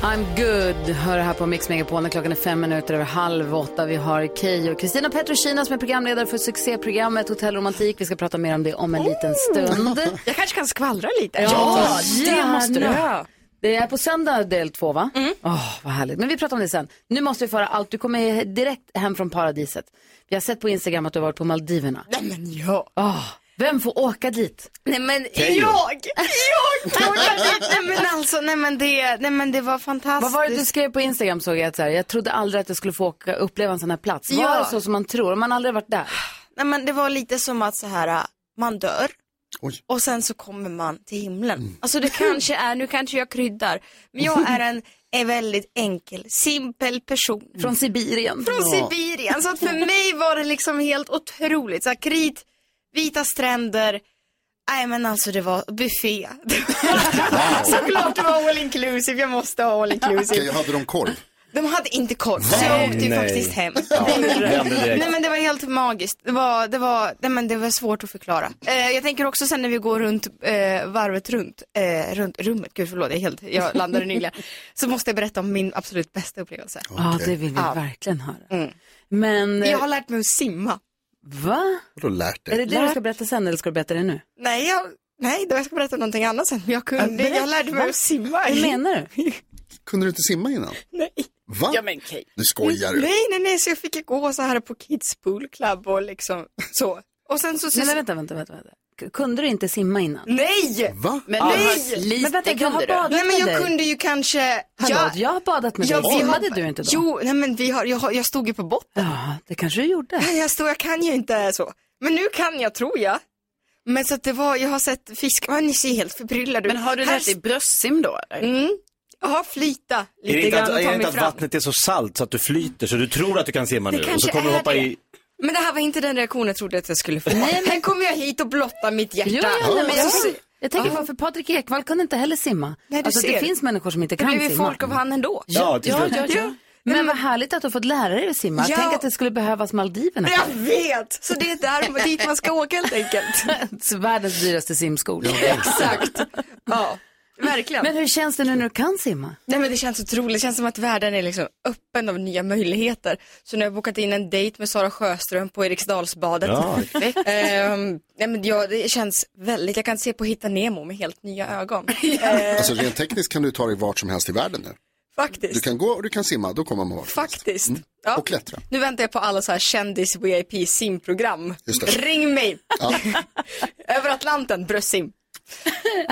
Speaker 4: I'm good. Hör det här på Mix Megapol när klockan är fem minuter över halv åtta. Vi har Keyyo och Kristina Petrushina som är programledare för succéprogrammet Hotell Romantik. Vi ska prata mer om det om en liten stund.
Speaker 17: Jag kanske kan skvallra lite.
Speaker 4: Ja,
Speaker 17: det måste du. Mm.
Speaker 4: gärna. Det är på söndag del två, va? Åh, vad härligt. Men vi pratar om det sen. Nu måste vi föra allt. Du kommer direkt hem från paradiset. Vi har sett på Instagram att du har varit på Maldiverna.
Speaker 17: Nej, men ja.
Speaker 4: vem får åka dit?
Speaker 17: Nej men
Speaker 4: Keyyo.
Speaker 17: jag! Jag! nej men alltså, nej men det, nej, men Alltså, det var fantastiskt.
Speaker 4: Vad var det du skrev på Instagram såg jag att så här, jag trodde aldrig att jag skulle få åka, uppleva en sån här plats. Var
Speaker 17: Ja.
Speaker 4: det så som man tror? Om man aldrig varit där?
Speaker 17: Nej men det var lite som att så här, äh, man dör och sen så kommer man till himlen. Alltså det kanske är, nu kanske jag kryddar, men jag är en, en väldigt enkel, simpel person.
Speaker 4: Från Sibirien.
Speaker 17: Från
Speaker 4: Ja.
Speaker 17: Sibirien, så att för mig var det liksom helt otroligt. Så här, krit, vita stränder, nej men alltså det var buffé. Såklart det var all inclusive, jag måste ha all inclusive.
Speaker 6: Okej, hade de korv?
Speaker 17: De hade inte koll, så jag åkte ju
Speaker 6: Nej.
Speaker 17: faktiskt hem.
Speaker 6: Ja, vände direkt.
Speaker 17: nej men det var helt magiskt. Det var, det var, nej, men det var svårt att förklara. Eh, jag tänker också sen när vi går runt eh, varvet runt, eh, runt rummet, gud förlåt, jag, är helt, jag landade nyligen. Så måste jag berätta om min absolut bästa upplevelse.
Speaker 4: Ja, det vill vi verkligen höra. Men...
Speaker 17: Mm. Jag har lärt mig att simma.
Speaker 4: Va?
Speaker 6: Vadå lärt
Speaker 4: Är det det du ska berätta sen eller ska du berätta det nu?
Speaker 17: Nej, jag, nej, då jag ska berätta någonting annat sen. Men Jag kunde,
Speaker 4: berätta.
Speaker 17: jag lärde
Speaker 4: Va?
Speaker 17: mig att simma.
Speaker 4: Hur menar
Speaker 17: du?
Speaker 6: Kunde du inte simma innan?
Speaker 17: Nej.
Speaker 6: Va?
Speaker 17: Ja, men Kate.
Speaker 6: Du skojar du.
Speaker 17: Nej, nej, nej, så jag fick ju gå så här på Kids Pool Club och liksom så. Och sen så...
Speaker 4: Nej, men vänta, vänta, vänta. vänta. K- Kunde du inte simma innan?
Speaker 17: Nej!
Speaker 6: Va?
Speaker 4: Men
Speaker 8: Ah,
Speaker 17: Ja,
Speaker 4: nej!
Speaker 17: lite
Speaker 4: Men vänta, jag
Speaker 17: kunde
Speaker 4: har
Speaker 17: du.
Speaker 4: badat
Speaker 17: Nej, men
Speaker 4: med
Speaker 17: jag
Speaker 4: dig.
Speaker 17: kunde ju kanske...
Speaker 4: Hallå, jag har badat med dig.
Speaker 17: vi
Speaker 4: Simmade
Speaker 17: har-
Speaker 4: du inte då?
Speaker 17: Jo, nej men vi har, jag, har- jag stod ju på botten.
Speaker 4: Ja, det kanske du gjorde.
Speaker 17: Nej, jag, stod, jag kan ju inte så. Men nu kan jag, tror jag. Men så att det var, jag har sett fisk, men ni ser helt förbryllade ut.
Speaker 9: Men har du lärt dig bröstsim då?
Speaker 17: Mm. Ja, flyta
Speaker 8: Är
Speaker 17: lite
Speaker 8: det inte
Speaker 17: grann
Speaker 8: att,
Speaker 17: och
Speaker 8: är
Speaker 17: ta
Speaker 8: det inte
Speaker 17: mig
Speaker 8: att
Speaker 17: fram.
Speaker 8: vattnet är så salt så att du flyter så du tror att du kan simma
Speaker 17: Det
Speaker 8: nu och
Speaker 17: kanske
Speaker 8: så kommer du
Speaker 17: är
Speaker 8: hoppa
Speaker 17: det.
Speaker 8: i...
Speaker 17: Men det här var inte den reaktion jag trodde att jag skulle få.
Speaker 4: Nej,
Speaker 17: Här kommer jag hit och blottar mitt hjärta.
Speaker 4: Jo, jo, nej, men jag, jag tänker
Speaker 17: Ja.
Speaker 4: bara för Patrik Ekwall kunde inte heller simma.
Speaker 17: Nej, du
Speaker 4: alltså, det
Speaker 17: ser.
Speaker 4: finns människor som inte
Speaker 17: Det
Speaker 4: kan
Speaker 17: blev ju
Speaker 4: simma.
Speaker 17: folk av han ändå.
Speaker 4: Ja,
Speaker 17: Ja,
Speaker 4: ja,
Speaker 17: till
Speaker 4: ja,
Speaker 17: slut.
Speaker 4: ja,
Speaker 17: Ja.
Speaker 4: Men vad härligt att du har fått lära dig att simma.
Speaker 17: Ja.
Speaker 4: Tänk att det skulle behövas Maldiverna.
Speaker 17: Jag vet! Så det är där, dit man ska åka helt enkelt.
Speaker 4: Världens dyraste simskola.
Speaker 17: Exakt. Ja, verkligen.
Speaker 4: Men hur känns det nu när du kan simma?
Speaker 17: Nej men det känns otroligt, det känns som att världen är liksom öppen av nya möjligheter. Så nu har jag bokat in en dejt med Sara Sjöström på Eriksdalsbadet.
Speaker 12: Ja.
Speaker 17: Ehm, nej men jag, det känns väldigt, jag kan se på Hitta Nemo med helt nya ögon. Ehm,
Speaker 6: Alltså rent tekniskt kan du ta dig vart som helst i världen nu.
Speaker 17: faktiskt.
Speaker 6: Du kan gå och du kan simma, då kommer man vart.
Speaker 17: Faktiskt.
Speaker 6: Ja. Mm. Och klättra.
Speaker 17: Nu väntar jag på alla så här kändis VIP simprogram.
Speaker 6: Just det.
Speaker 17: Ring mig!
Speaker 6: Ja.
Speaker 17: Över Atlanten, bröstsim.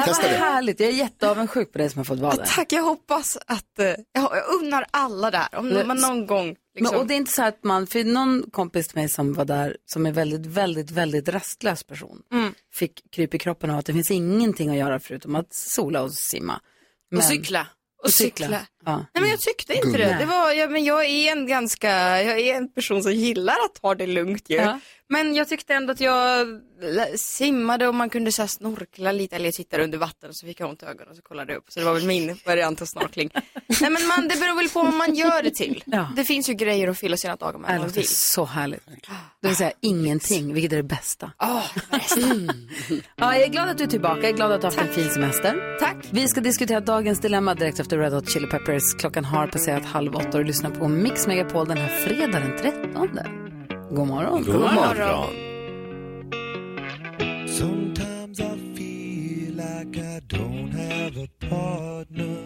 Speaker 4: Testa det. Härligt, jag är jätteavundsjuk på dig som har fått vara där.
Speaker 17: Tack, jag hoppas att, eh, jag jag unnar alla där, om man någon gång liksom.
Speaker 4: Men, och det är inte så här att man, för någon kompis till mig som var där, som är väldigt, väldigt, väldigt rastlös person,
Speaker 17: Mm.
Speaker 4: fick kryp i kroppen av att det finns ingenting att göra förutom att sola och simma.
Speaker 17: Och cykla.
Speaker 4: Och cykla.
Speaker 17: cykla.
Speaker 4: Ja.
Speaker 17: Nej men jag tyckte inte
Speaker 4: Gummi.
Speaker 17: det. det var, ja, men jag är en ganska, jag är en person som gillar att ta det lugnt ju.
Speaker 4: Ja.
Speaker 17: Men jag tyckte ändå att jag l- simmade och man kunde så här snorkla lite eller jag tittade under vatten och så fick jag ont i ögonen och så kollade jag upp. Så det var väl min variant av snorkling. Nej men man, det beror väl på vad man gör det till. Det finns ju grejer att fylla sina dagar med. om
Speaker 4: Det
Speaker 17: man
Speaker 4: låter
Speaker 17: vill.
Speaker 4: så härligt. Det vill säga ingenting, vilket är det bästa.
Speaker 17: Oh,
Speaker 4: Ah. Mm. Ja, jag är glad att du är tillbaka. Jag är glad att du har haft en fin semester.
Speaker 17: Tack.
Speaker 4: Vi ska diskutera dagens dilemma direkt efter Red Hot Chili Peppers. Klockan har passerat halv åtta och du lyssnar på Mix Megapol den här fredagen den 13. God morgon.
Speaker 12: God God morgon.
Speaker 18: Sometimes I feel like I don't have a partner.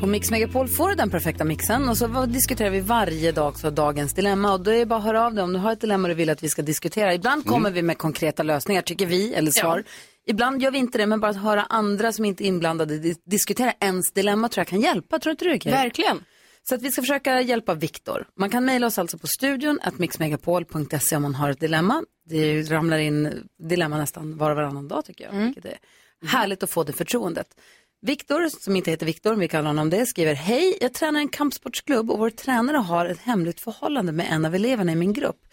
Speaker 4: På Mix Megapol får du den perfekta mixen och så vad- diskuterar vi varje dag också dagens dilemma och då är det bara att höra av dig om du har ett dilemma du vill att vi ska diskutera. Ibland kommer vi med konkreta lösningar tycker vi eller svar. Ibland gör vi inte det men bara att höra andra som inte är inblandade di- diskutera ens dilemma tror jag kan hjälpa. Tror inte du det
Speaker 17: Verkligen.
Speaker 4: Så att vi ska försöka hjälpa Viktor. Man kan mejla oss alltså på studion att mixmegapol.se om man har ett dilemma. Det ramlar in dilemma nästan var och varannan dag tycker jag. Vilket är härligt att få det förtroendet. Viktor, som inte heter Viktor, men vi kallar honom det, skriver Hej, jag tränar i en kampsportsklubb och vår tränare har ett hemligt förhållande med en av eleverna i min grupp.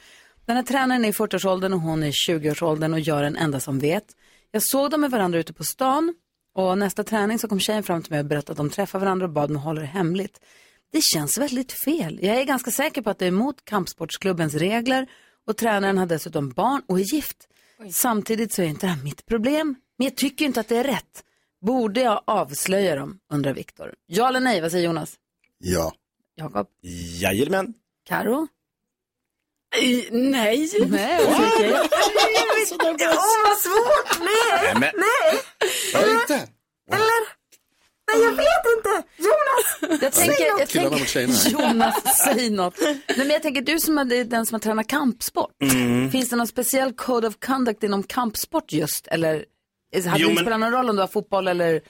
Speaker 4: Den här tränaren är i 40-årsåldern och hon är i 20-årsåldern och gör en enda som vet. Jag såg dem med varandra ute på stan och nästa träning så kom tjejen fram till mig och berättade att de träffar varandra och bad mig hålla det hemligt. Det känns väldigt fel. Jag är ganska säker på att det är emot kampsportsklubbens regler och tränaren har dessutom barn och är gift. Samtidigt så är inte det här mitt problem, men jag tycker ju inte att det är rätt. Borde jag avslöja dem, undrar Viktor. Ja eller nej, vad säger Jonas?
Speaker 6: Ja.
Speaker 4: Jakob?
Speaker 8: Jajamän.
Speaker 4: Karo?
Speaker 9: I- Nej.
Speaker 4: Nej, okej.
Speaker 12: Åh, vad svårt! Nej!
Speaker 8: Nej, men-
Speaker 12: Nej!
Speaker 6: Eller? Inte.
Speaker 12: Eller? Nej, jag vet inte! Jonas!
Speaker 4: Jag
Speaker 12: säg
Speaker 4: tänker,
Speaker 12: något.
Speaker 4: jag tänker Jonas, säg något. Nej, men jag tänker, du som är den som har tränat kampsport,
Speaker 12: Mm.
Speaker 4: finns det någon speciell code of conduct inom kampsport just? Eller eh, hade
Speaker 8: Jo,
Speaker 4: det
Speaker 8: men-
Speaker 4: spelat någon roll om det var fotboll eller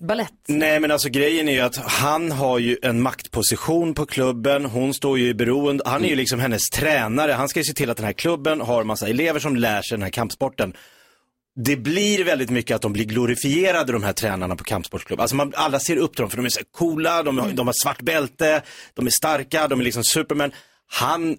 Speaker 4: ballett?
Speaker 8: Nej men alltså grejen är ju att han har ju en maktposition på klubben, hon står ju i beroende, han är ju liksom hennes tränare, han ska ju se till att den här klubben har massa elever som lär sig den här kampsporten. Det blir väldigt mycket att de blir glorifierade de här tränarna på kampsportsklubben. Alltså man, alla ser upp till dem för de är så här coola, de, har- de har svart bälte, de är starka, de är liksom supermän. Han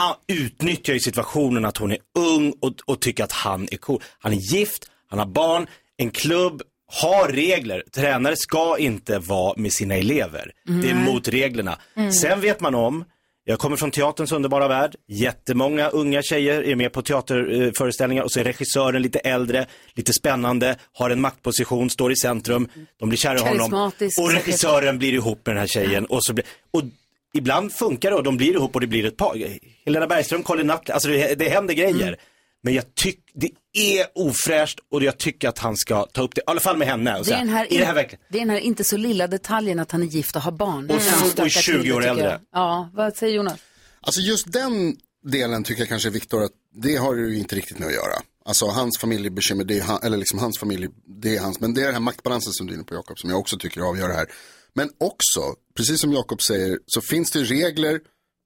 Speaker 8: ah, utnyttjar ju situationen att hon är ung och, och tycker att han är cool. Han är gift, han har barn, en klubb har regler. Tränare ska inte vara med sina elever. Det är
Speaker 19: Nej.
Speaker 8: mot reglerna.
Speaker 19: Mm.
Speaker 8: Sen vet man om, jag kommer från teaterns underbara värld, jättemånga unga tjejer är med på teaterföreställningar och så är regissören lite äldre, lite spännande, har en maktposition, står i centrum, de blir kära i honom
Speaker 4: Karismatisk.
Speaker 8: och regissören blir ihop med den här tjejen och så blir, och ibland funkar det och de blir ihop och det blir ett par. Helena Bergström, Colin Nutley, alltså det, det händer grejer. Men jag tycker, det är ofräscht och jag tycker att han ska ta upp det, i alla fall med henne. Och
Speaker 4: Det
Speaker 8: säga,
Speaker 4: är, den här,
Speaker 8: är det här verkligen?
Speaker 4: det är den här inte så lilla detaljen att han är gift och har barn.
Speaker 6: Och
Speaker 4: Det är
Speaker 6: så-
Speaker 4: stökar
Speaker 6: och är
Speaker 4: till
Speaker 6: 20
Speaker 4: det,
Speaker 6: år
Speaker 4: tycker
Speaker 6: äldre.
Speaker 4: jag. Ja, vad säger Jonas?
Speaker 6: Alltså just den delen tycker jag kanske Viktor att det har ju inte riktigt med att göra. Alltså hans familjebekymmer, det är han, eller liksom hans familj, det är hans. Men det är den här maktbalansen som du är inne på Jakob som jag också tycker avgör det här. Men också, precis som Jakob säger, så finns det regler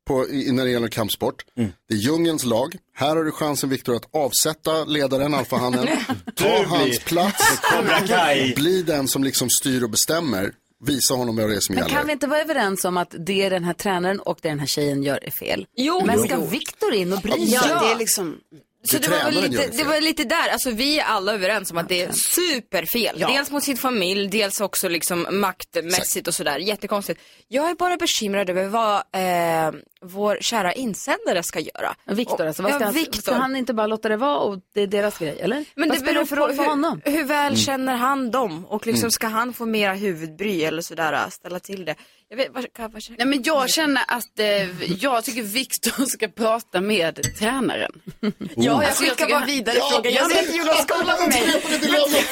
Speaker 6: på, i, när det gäller kampsport. Det är djungelns lag. Här har du chansen Viktor att avsätta ledaren, alfahannen. ta
Speaker 8: blir-
Speaker 6: hans plats.
Speaker 8: Cobra Kai.
Speaker 6: Bli den som liksom styr och bestämmer. Visa honom vad det är som
Speaker 4: Men
Speaker 6: gäller.
Speaker 4: kan vi inte vara överens om att det den här tränaren och det den här tjejen gör är fel?
Speaker 17: Jo,
Speaker 4: Men
Speaker 17: jo.
Speaker 4: ska Viktor in och bry sig?
Speaker 17: Ja, det är liksom- Så
Speaker 4: Det
Speaker 17: det var, väl
Speaker 4: tränaren gör
Speaker 17: lite,
Speaker 4: det
Speaker 17: det var lite där, alltså vi är alla överens om att det är superfel.
Speaker 4: Ja.
Speaker 17: Dels mot sin familj, dels också liksom maktmässigt och sådär. Jättekonstigt. Jag är bara bekymrad över vad eh, vår kära insändare ska göra.
Speaker 4: Viktor alltså, vad ska,
Speaker 17: ja,
Speaker 4: han, ska
Speaker 17: Viktor.
Speaker 4: han inte bara låta det vara och det är deras grej, eller?
Speaker 17: Men
Speaker 4: vad
Speaker 17: det
Speaker 4: spelar
Speaker 17: beror
Speaker 4: det för
Speaker 17: på
Speaker 4: roll för honom?
Speaker 17: hur, hur väl
Speaker 4: Mm.
Speaker 17: känner han dem och liksom
Speaker 4: Mm.
Speaker 17: ska han få mera huvudbry eller sådär, äh, ställa till det. Jag vet, vad, vad, vad,
Speaker 9: Nej, men jag känner att eh, jag tycker Viktor ska prata med tränaren.
Speaker 17: Ja, jag
Speaker 9: Alltså,
Speaker 17: skickar
Speaker 9: tycker
Speaker 17: bara
Speaker 9: han-
Speaker 17: vidare frågan. Jag ser att Jonas kollar på mig.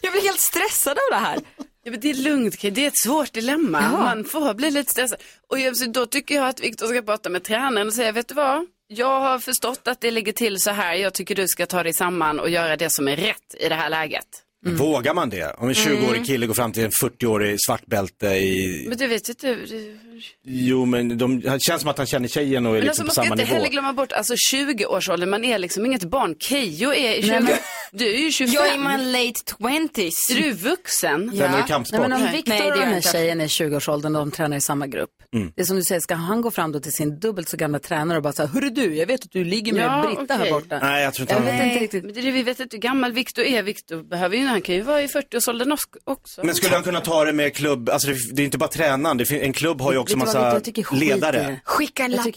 Speaker 17: Jag blir helt stressad av det här.
Speaker 9: Ja, men det är lugnt, Kaj. det är ett svårt dilemma. Man får bli lite stressad. Och jag, så då tycker jag att Viktor ska prata med tränaren och säga, vet du vad? Jag har förstått att det ligger till så här. Jag tycker du ska ta dig samman och göra det som är rätt i det här läget.
Speaker 8: Vågar man det?
Speaker 9: Mm.
Speaker 8: Om en 20-årig kille går fram till en 40-årig svartbälte i...
Speaker 9: Men du vet ju inte. du-
Speaker 8: Jo men de... det känns som att han känner tjejen och är
Speaker 9: Men
Speaker 8: liksom
Speaker 9: alltså, man
Speaker 8: på
Speaker 9: ska
Speaker 8: samma
Speaker 9: inte
Speaker 8: nivå.
Speaker 9: heller glömma bort alltså 20-årsåldern. Man är liksom inget barn. Keyyo är 20.
Speaker 17: men-
Speaker 9: Du är ju 25.
Speaker 17: Jag är i my late 20s.
Speaker 9: Är du vuxen?
Speaker 4: Nej, men om
Speaker 9: Nej,
Speaker 4: Viktor
Speaker 9: det
Speaker 4: och
Speaker 9: gör
Speaker 4: den
Speaker 9: jag
Speaker 4: här
Speaker 9: inte.
Speaker 4: tjejen är i 20-årsåldern och de tränar i samma grupp.
Speaker 17: Mm.
Speaker 4: Det är som du säger, ska han gå fram då till sin dubbelt så gamla tränare och bara säga, hörru du, jag vet att du ligger med
Speaker 9: Ja,
Speaker 4: Britta här
Speaker 9: okej.
Speaker 4: borta.
Speaker 8: Nej, jag tror inte
Speaker 4: jag
Speaker 8: han-
Speaker 4: vet inte
Speaker 9: Nej,
Speaker 4: riktigt.
Speaker 9: men det är det vi vet inte hur gammal Viktor är. Viktor behöver ju, han kan ju vara i 40-årsåldern osk- också.
Speaker 8: Men skulle han kunna ta det med klubb, alltså det, det är inte bara tränaren, det, fin- en klubb har ju också
Speaker 9: Vet du vad, Victor?
Speaker 8: massa
Speaker 9: Jag tycker skit i
Speaker 8: ledare.
Speaker 9: det.
Speaker 17: Skicka en lapp.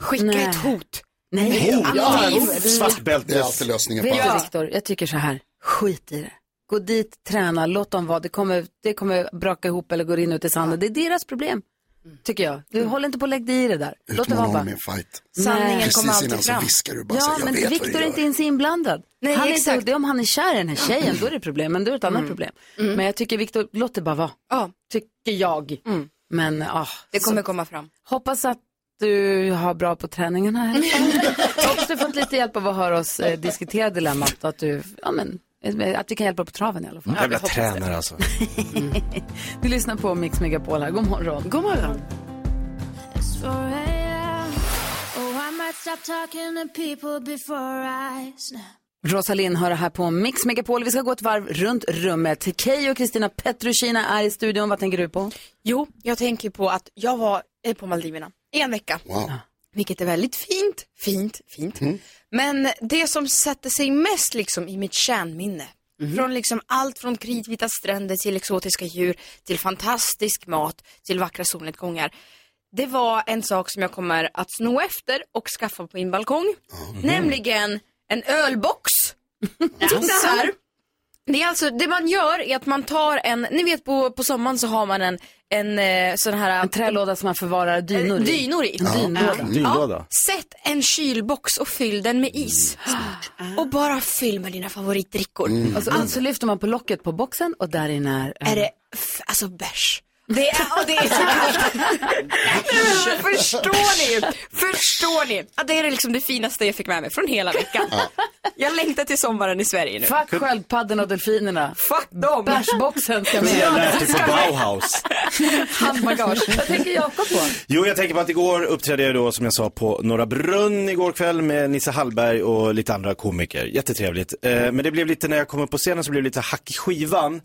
Speaker 17: Skicka
Speaker 4: Nej.
Speaker 17: ett hot.
Speaker 4: Nej,
Speaker 17: Hot? Ja,
Speaker 4: Anonymt.
Speaker 17: en
Speaker 8: svartbälte.
Speaker 6: Det är alltid lösningen på
Speaker 4: Vet du
Speaker 6: allt.
Speaker 4: Viktor, jag tycker så här, skit i det. Gå dit, träna, låt dem vara. Det kommer, det kommer braka ihop eller gå in ut i sanden. Det är deras problem, tycker jag. Du håller inte på att lägga dig i det där. Låt dem
Speaker 6: Utmana
Speaker 4: vara bara.
Speaker 6: honom i en fight.
Speaker 4: Sanningen
Speaker 6: Precis
Speaker 4: kommer alltid
Speaker 6: innan
Speaker 4: fram.
Speaker 6: så viskar du bara så
Speaker 4: ja,
Speaker 6: här, jag
Speaker 4: men
Speaker 6: vet
Speaker 4: Viktor
Speaker 6: vad
Speaker 4: är
Speaker 6: du
Speaker 4: inte
Speaker 6: gör.
Speaker 4: ens inblandad.
Speaker 17: Nej,
Speaker 4: han är
Speaker 17: exakt. Mm.
Speaker 4: Inte, det är om han är kär i den här tjejen, då är det problem. Men då är det ett annat problem. Men jag tycker Viktor, låt det bara vara. Tycker jag.
Speaker 17: Mm.
Speaker 4: Men, ah,
Speaker 17: Det kommer
Speaker 4: så-
Speaker 17: komma fram.
Speaker 4: Hoppas att du har bra på träningarna här. Hoppas du fått lite hjälp av att höra oss eh, diskutera dilemmat. och Att, du, ja, men, eh, att vi kan hjälpa på traven i alla fall.
Speaker 8: Mm. Jävla tränare alltså.
Speaker 4: Du lyssnar på Mix Megapol här. God morgon.
Speaker 9: God morgon.
Speaker 12: It's 4 a.m. Oh, I might stop talking to people before I snap.
Speaker 4: Rosalind hör här på Mix Megapol. Vi ska gå ett varv runt rummet. Keyyo och Kristina Petrushina är i studion. Vad tänker du på?
Speaker 17: Jo, jag tänker på att jag var eh, på Maldiverna i en vecka. Vilket är väldigt fint, fint, fint.
Speaker 4: Mm.
Speaker 17: Men det som sätter sig mest liksom i mitt kärnminne,
Speaker 4: Mhm.
Speaker 17: från liksom allt från kritvita stränder till exotiska djur, till fantastisk mat, till vackra solnedgångar. Det var en sak som jag kommer att sno efter och skaffa på min
Speaker 4: Mhm.
Speaker 17: balkong, nämligen en ölbox. Titta här! Det, är alltså, det man gör är att man tar en, ni vet på, på sommaren så har man en, en eh, sån här... En
Speaker 4: trälåda som man förvarar dynor i.
Speaker 17: Dynor i.
Speaker 4: En Ja, dynlåda. en dynlåda.
Speaker 17: Ja, sätt en kylbox och fyll den med is. Och bara fyll med dina favoritdrickor.
Speaker 4: Och så, och så lyfter man på locket på boxen och där inne är...
Speaker 17: Är det, f- alltså bärs. Det är, och det är så kallt. Nej, men förstår ni? Förstår ni? Ja, det är liksom det finaste jag fick med mig från hela veckan. Jag längtar till sommaren i Sverige nu.
Speaker 4: Fuck sköldpaddorna och delfinerna.
Speaker 17: Fuck dem.
Speaker 4: Bärsboxen ska
Speaker 8: Det jag
Speaker 4: med.
Speaker 8: lärde på Bauhaus.
Speaker 4: Handbagage. Vad tänker Jakob på?
Speaker 8: Jo, jag tänker på att igår uppträdde jag då, som jag sa, på Norra Brunn igår kväll med Nisse Hallberg och lite andra komiker. Jättetrevligt. Eh, men det blev lite, när jag kom upp på scenen så blev det lite hack i skivan.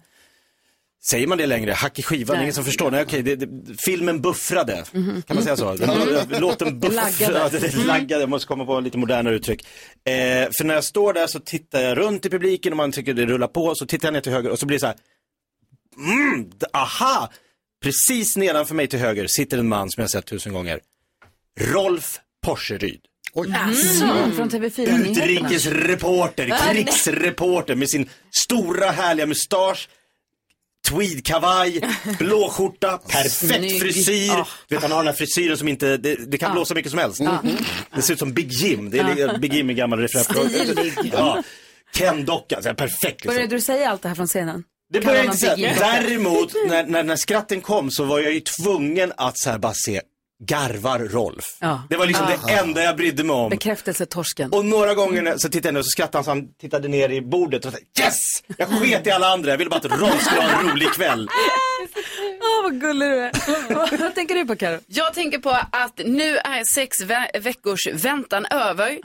Speaker 8: Säger man det längre? Hack i skivan?
Speaker 19: Nej.
Speaker 8: Ingen som förstår? Nej, okej. Det, det, filmen buffrade.
Speaker 19: Mhm.
Speaker 8: Kan man säga så?
Speaker 19: Mm.
Speaker 8: Låten buffrade.
Speaker 19: Laggade. Mm.
Speaker 8: Ja, det- det Laggade. Jag måste komma på lite modernare uttryck. Eh, för när jag står där så tittar jag runt i publiken och man tycker det rullar på. Så tittar jag ner till höger och så blir det så här. Mm, d- aha! Precis nedanför mig till höger sitter en man som jag sett tusen gånger. Rolf Porseryd.
Speaker 17: Mm.
Speaker 4: Alltså, från TV4 Nyheterna.
Speaker 8: Utrikesreporter, krigsreporter med sin stora härliga mustasch, tweedkavaj, blåskjorta, perfekt
Speaker 19: Snygg.
Speaker 8: frisyr.
Speaker 19: Ah.
Speaker 8: Vet han har den här frisyren som inte, det, det kan
Speaker 19: Ah.
Speaker 8: blåsa mycket som helst. Mm.
Speaker 19: Ah.
Speaker 8: Det ser ut som Big Jim, det är li-
Speaker 4: Ah.
Speaker 8: Big Jim i gammal refräng.
Speaker 4: Stilig.
Speaker 8: Ja. Ken-dockan, så här perfekt liksom.
Speaker 4: Började du säga allt det här från scenen?
Speaker 8: Det
Speaker 4: Kallar
Speaker 8: började
Speaker 4: man
Speaker 8: inte säga.
Speaker 4: Big Jim?
Speaker 8: Däremot, när, när, när skratten kom så var jag ju tvungen att så här bara se, garvar Rolf?
Speaker 4: Ja.
Speaker 8: Det var liksom det
Speaker 4: Ah.
Speaker 8: enda jag brydde mig om.
Speaker 4: Bekräftelsetorsken.
Speaker 8: Och några gånger när- så tittade jag ner och så skrattade han så han tittade ner i bordet och sa yes! Jag sket i alla andra, jag ville bara att Rolf skulle ha en rolig kväll.
Speaker 4: Åh, vad gullig du är. Vad tänker du på, Karo?
Speaker 9: Jag tänker på att nu är sex ve- veckors väntan över.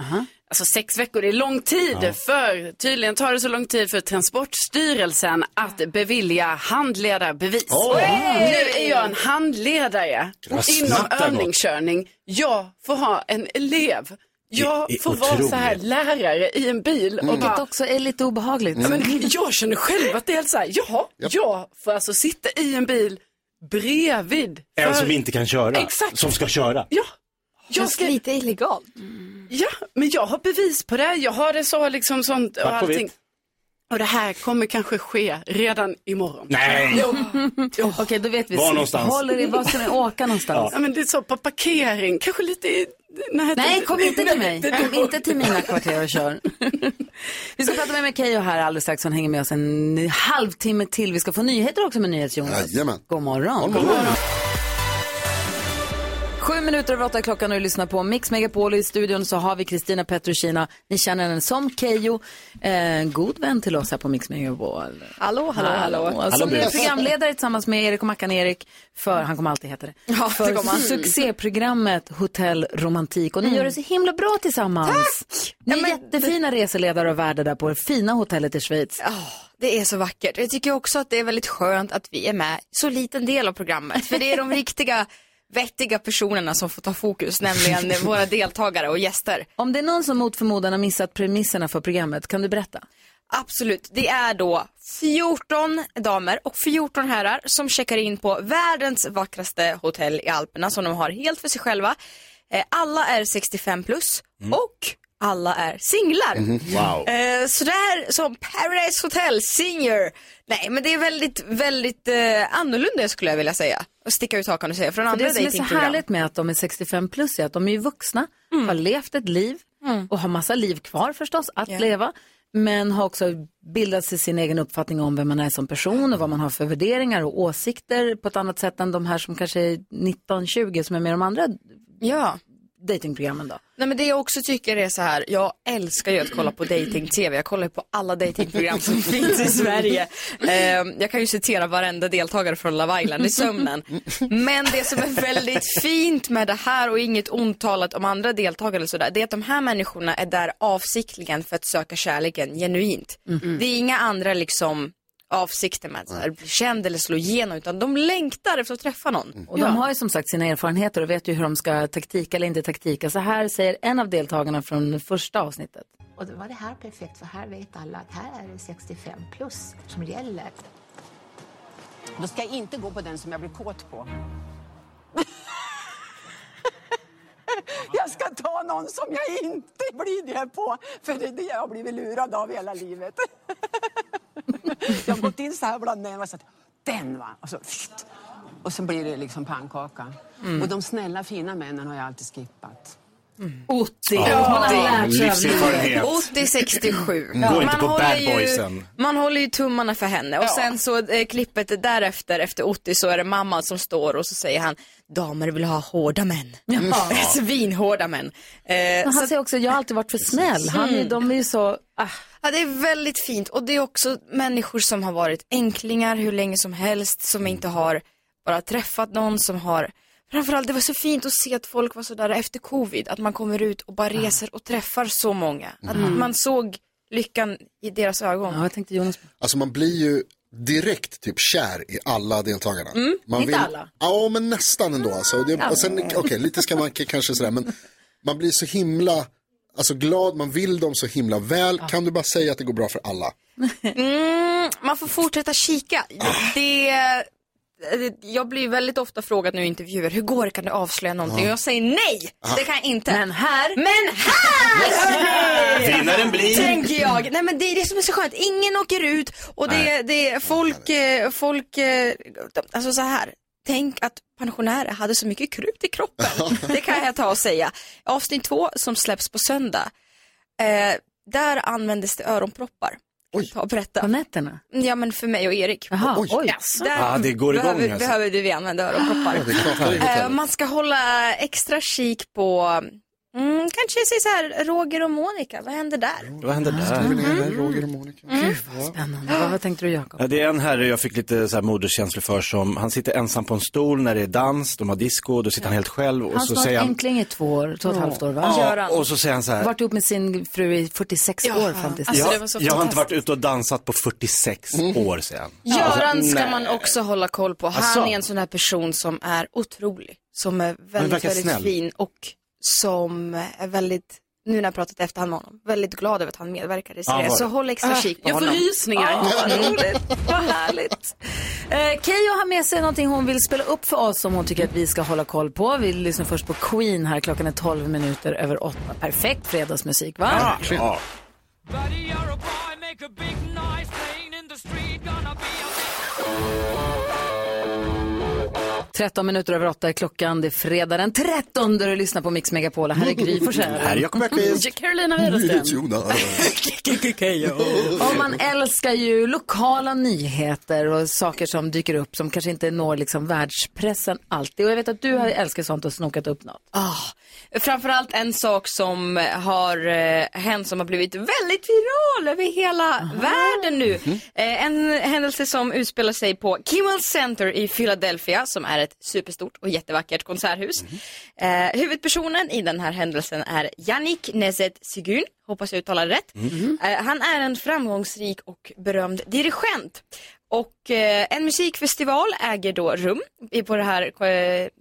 Speaker 9: Alltså sex veckor är lång tid
Speaker 4: Ja.
Speaker 9: för tydligen tar det så lång tid för Transportstyrelsen att bevilja handledarbevis.
Speaker 19: Oj!
Speaker 9: Nu är jag en handledare
Speaker 19: Vad
Speaker 9: inom
Speaker 19: snabbt det har gått.
Speaker 9: övningskörning. Jag får ha en elev. Jag
Speaker 19: Det är
Speaker 9: får vara så här
Speaker 19: otroligt. Mm.
Speaker 9: lärare i en bil och
Speaker 4: Vilket
Speaker 9: bara
Speaker 4: också är lite obehagligt.
Speaker 9: Ja, men jag känner själv att det är helt så här, jaha, jag får alltså sitta i en bil bredvid.
Speaker 8: En
Speaker 9: för-
Speaker 8: som inte kan köra,
Speaker 9: Exakt.
Speaker 8: som ska köra.
Speaker 9: Ja. Jag ska...
Speaker 17: lite illegalt.
Speaker 9: Ja, men jag har bevis på det. Jag har det så liksom sånt och
Speaker 8: Svart på vitt.
Speaker 9: allting. Och det här kommer kanske ske redan imorgon.
Speaker 8: Nej.
Speaker 9: Jo. Jo.
Speaker 4: Okej, då vet vi.
Speaker 8: Var någonstans?
Speaker 4: Håller i, var ska ni åka någonstans?
Speaker 9: Ja, men det är så på parkering, kanske lite i... Nej,
Speaker 4: Nej,
Speaker 9: det-
Speaker 4: kom inte till
Speaker 9: Nej,
Speaker 4: mig.
Speaker 9: det-
Speaker 4: Kom inte till mina kvarter och kör. Vi ska prata med Mikael här alldeles strax. Hon hänger med oss en halvtimme till. Vi ska få nyheter också med NyhetsJonas.
Speaker 6: Jajamän.
Speaker 4: God morgon. Sju minuter över åtta är klockan och du lyssnar på Mix Megapol. Och I studion så har vi Kristina Petrushina. Ni känner henne som Kejo. Eh, En god vän till oss här på Mix Megapol.
Speaker 17: Hallå, hallå, hallå.
Speaker 4: Som är
Speaker 17: Bus.
Speaker 4: Alltså, programledare tillsammans med Erik och Mackan Erik. För, han kommer alltid heta det.
Speaker 17: Ja, det
Speaker 4: för
Speaker 17: kommer han.
Speaker 4: succéprogrammet Hotell Romantik. Och ni
Speaker 17: Mm.
Speaker 4: gör det så himla bra tillsammans. Tack! Ni är jättefina reseledare och värdar där på det fina hotellet i Schweiz.
Speaker 17: Det är så vackert. Jag tycker också att det är väldigt skönt att vi är med så liten del av programmet. För det är de riktiga vettiga personerna som får ta fokus, nämligen våra deltagare och gäster.
Speaker 4: Om det är någon som mot förmodan har missat premisserna för programmet, kan du berätta?
Speaker 17: Absolut. Det är då 14 damer och 14 herrar som checkar in på världens vackraste hotell i Alperna som de har helt för sig själva. Eh, Alla är 65 plus och alla är singlar.
Speaker 19: Mhm. Wow.
Speaker 17: Eh, Så det här som Paradise Hotel Senior. Nej men det är väldigt, väldigt eh, annorlunda skulle jag vilja säga. Och sticka ut hakan och säga från
Speaker 4: För
Speaker 17: andra
Speaker 4: det som är så
Speaker 17: dejtingprogram.
Speaker 4: härligt med att de är 65 plus är att de är ju vuxna, har levt ett liv och har massa liv kvar förstås att
Speaker 17: Ja.
Speaker 4: leva. Men har också bildat sig sin egen uppfattning om vem man är som person och vad man har för värderingar och åsikter på ett annat sätt än de här som kanske är 19-20 som är med i de andra
Speaker 17: ja.
Speaker 4: datingprogrammen då.
Speaker 17: Nej men det jag också tycker är så här, jag älskar ju att kolla på dating-tv. Jag kollar ju på alla datingprogram som finns i Sverige. Ehm, jag kan ju citera varenda deltagare från Love Island i sömnen. Men det som är väldigt fint med det här och inget ont talat om andra deltagare eller sådär, det är att de här människorna är där avsiktligen för att söka kärleken genuint.
Speaker 19: Mhm.
Speaker 17: Det är inga andra liksom avsikter med att så här, bli känd eller slå igenom, utan de längtar efter att träffa någon.
Speaker 4: Och de har ju som sagt sina erfarenheter och vet ju hur de ska taktika eller inte taktika. Så här säger en av deltagarna från första avsnittet.
Speaker 20: Och då var det här perfekt, för här vet alla att här är det 65 plus som gäller.
Speaker 21: Då ska jag inte gå på den som jag blir kåt på. jag ska ta någon som jag inte blir det på, för det är det jag har blivit lurad av hela livet. Jag har gått in så här bland män och sagt den va! Och så, pst. och så blir det liksom pannkaka.
Speaker 4: Mm.
Speaker 21: Och de snälla fina männen har jag alltid skippat.
Speaker 4: Otti.
Speaker 21: Ja,
Speaker 4: Hon har
Speaker 21: det är
Speaker 4: lärt sig av
Speaker 21: livserfarenhet.
Speaker 4: livet.
Speaker 17: 80-67.
Speaker 4: Mm. Gå inte på
Speaker 17: håller
Speaker 4: bad
Speaker 17: ju-
Speaker 4: boysen.
Speaker 17: Man håller ju tummarna för henne och sen så eh, klippet därefter, efter 80 så är det mamman som står och så säger han damer vill ha hårda män.
Speaker 4: Ja.
Speaker 17: Svinhårda män. Eh,
Speaker 4: Men
Speaker 17: så
Speaker 4: han
Speaker 17: att-
Speaker 4: säger också, jag har alltid varit för snäll. Han är,
Speaker 17: Mm.
Speaker 4: de är ju så... ah.
Speaker 17: Ja, det är väldigt fint och det är också människor som har varit enklingar hur länge som helst,
Speaker 4: Mm.
Speaker 17: som inte har bara träffat någon, som har Framförallt det var så fint att se att folk var sådär efter covid, att man kommer ut och bara reser och träffar så många. Att
Speaker 4: Mm.
Speaker 17: man såg lyckan i deras ögon.
Speaker 4: jag tänkte Jonas.
Speaker 6: Alltså man blir ju direkt typ kär i alla deltagarna.
Speaker 17: Mm,
Speaker 6: Man
Speaker 17: inte alla.
Speaker 6: Ja, men nästan ändå alltså. Och, det, och sen,
Speaker 17: Ja.
Speaker 6: okej, lite ska man k- kanske sådär, men man blir så himla, alltså glad, man vill dem så himla väl. Kan du bara säga att det går bra för alla?
Speaker 17: Mm, man får fortsätta kika. Det, det- eh, jag blir väldigt ofta frågad nu i intervjuer, hur går det, kan du avslöja någonting?
Speaker 6: Ja.
Speaker 17: Och jag säger nej,
Speaker 6: Aha.
Speaker 17: det kan jag inte.
Speaker 4: Men här!
Speaker 17: Men här! hörni!
Speaker 8: Vinnaren blir-
Speaker 17: Tänker jag. Nej men det är det som är så skönt, ingen åker ut och det,
Speaker 8: Nej.
Speaker 17: det är folk, eh, folk, eh, de- alltså så här. Tänk att pensionärer hade så mycket krut i kroppen. Det kan jag ta och säga. Avsnitt två som släpps på söndag. Eh, där användes det öronproppar. Oj. Ta och berätta. På
Speaker 4: nätterna?
Speaker 17: Ja men för mig och Erik.
Speaker 4: Jaha, oj.
Speaker 17: Yes. Där
Speaker 8: Ah, det går igång,
Speaker 17: behöver,
Speaker 8: alltså.
Speaker 17: behöver vi använda öronproppar.
Speaker 8: Ja, det är klart det är hotellet.
Speaker 17: Eh, man ska hålla extra kik på, mm, kanske säg så här, Roger och Monica, vad händer där?
Speaker 8: Vad hände där?
Speaker 6: Roger och Monica.
Speaker 17: Mm.
Speaker 4: Spännande. Vad, vad tänkte du Jakob?
Speaker 8: Ja, det är en herre jag fick lite så här moderskänslor för som, han sitter ensam på en stol när det är dans, de har disco, då sitter han helt själv och
Speaker 4: Hans
Speaker 8: så
Speaker 4: snart
Speaker 8: säger han,
Speaker 4: änkling är två år, två och ett halvt år va?
Speaker 8: ja, och så säger han så här,
Speaker 4: Vart ihop med sin fru i 46 år fram tills
Speaker 8: jag, jag har inte varit ute och dansat på 46 år sedan.
Speaker 17: Göran
Speaker 8: alltså,
Speaker 17: ska
Speaker 8: nej. Alltså.
Speaker 17: man också hålla koll på. Han
Speaker 8: Asså?
Speaker 17: är en sån här person som är otrolig. Som är väldigt,
Speaker 8: verkar
Speaker 17: väldigt
Speaker 8: snäll.
Speaker 17: fin och som är väldigt, nu när jag har pratat efter han med honom, väldigt glad över att han medverkade i
Speaker 4: Ja,
Speaker 17: serien.
Speaker 4: var
Speaker 17: Så
Speaker 4: det?
Speaker 17: håll extra
Speaker 4: Ah,
Speaker 17: kik på
Speaker 4: jag får
Speaker 17: honom.
Speaker 4: rysningar.
Speaker 17: Ja, vad roligt. Vad härligt.
Speaker 4: Eh, Keyyo har med sig någonting hon vill spela upp för oss som hon tycker att vi ska hålla koll på. Vi lyssnar först på Queen här, klockan är 12 minuter över 8. Perfekt fredagsmusik va?
Speaker 8: Ja.
Speaker 19: in the street, gonna be a
Speaker 4: 13 minuter över 8 är klockan, det är fredag den 13 där du lyssnar på Mix Megapol. Här är Gry Forssell.
Speaker 8: Här är Jakob Öqvist.
Speaker 4: Carolina Widerström. Och man älskar ju lokala nyheter och saker som dyker upp som kanske inte når liksom världspressen alltid. Och jag vet att du har älskat sånt och snokat upp något.
Speaker 17: Ah, framförallt en sak som har eh, hänt som har blivit väldigt viral över hela världen nu. Eh, en händelse som utspelar sig på Kimmel Center i Philadelphia som är ett superstort och jättevackert konserthus. Eh, huvudpersonen i den här händelsen är Yannick Nezet Sigun, hoppas jag uttalar det rätt. Eh, Han är en framgångsrik och berömd dirigent. Och eh, en musikfestival äger då rum i, på det här, eh,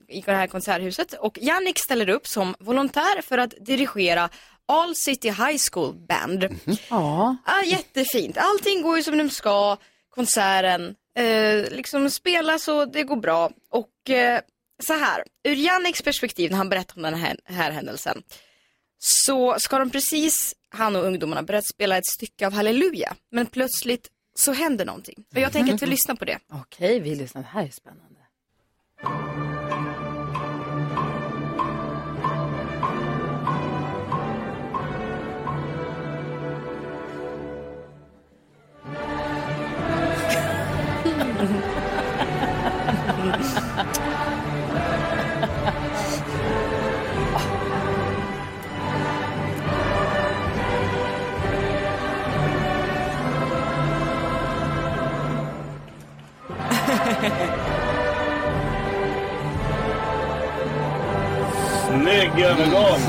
Speaker 17: i det här konserthuset och Jannik ställer upp som volontär för att dirigera All City High School Band.
Speaker 4: Ja.
Speaker 17: Ah, jättefint, allting går ju som de ska, konserten eh, liksom spelas och det går bra. Och eh, så här, ur Janniks perspektiv när han berättar om den här, här händelsen så ska de precis, han och ungdomarna, börjat spela ett stycke av Halleluja. Men plötsligt så händer någonting. Och jag tänker att vi lyssnar på det.
Speaker 4: Okej, vi lyssnar. Det här är spännande.
Speaker 8: Snygg övergång!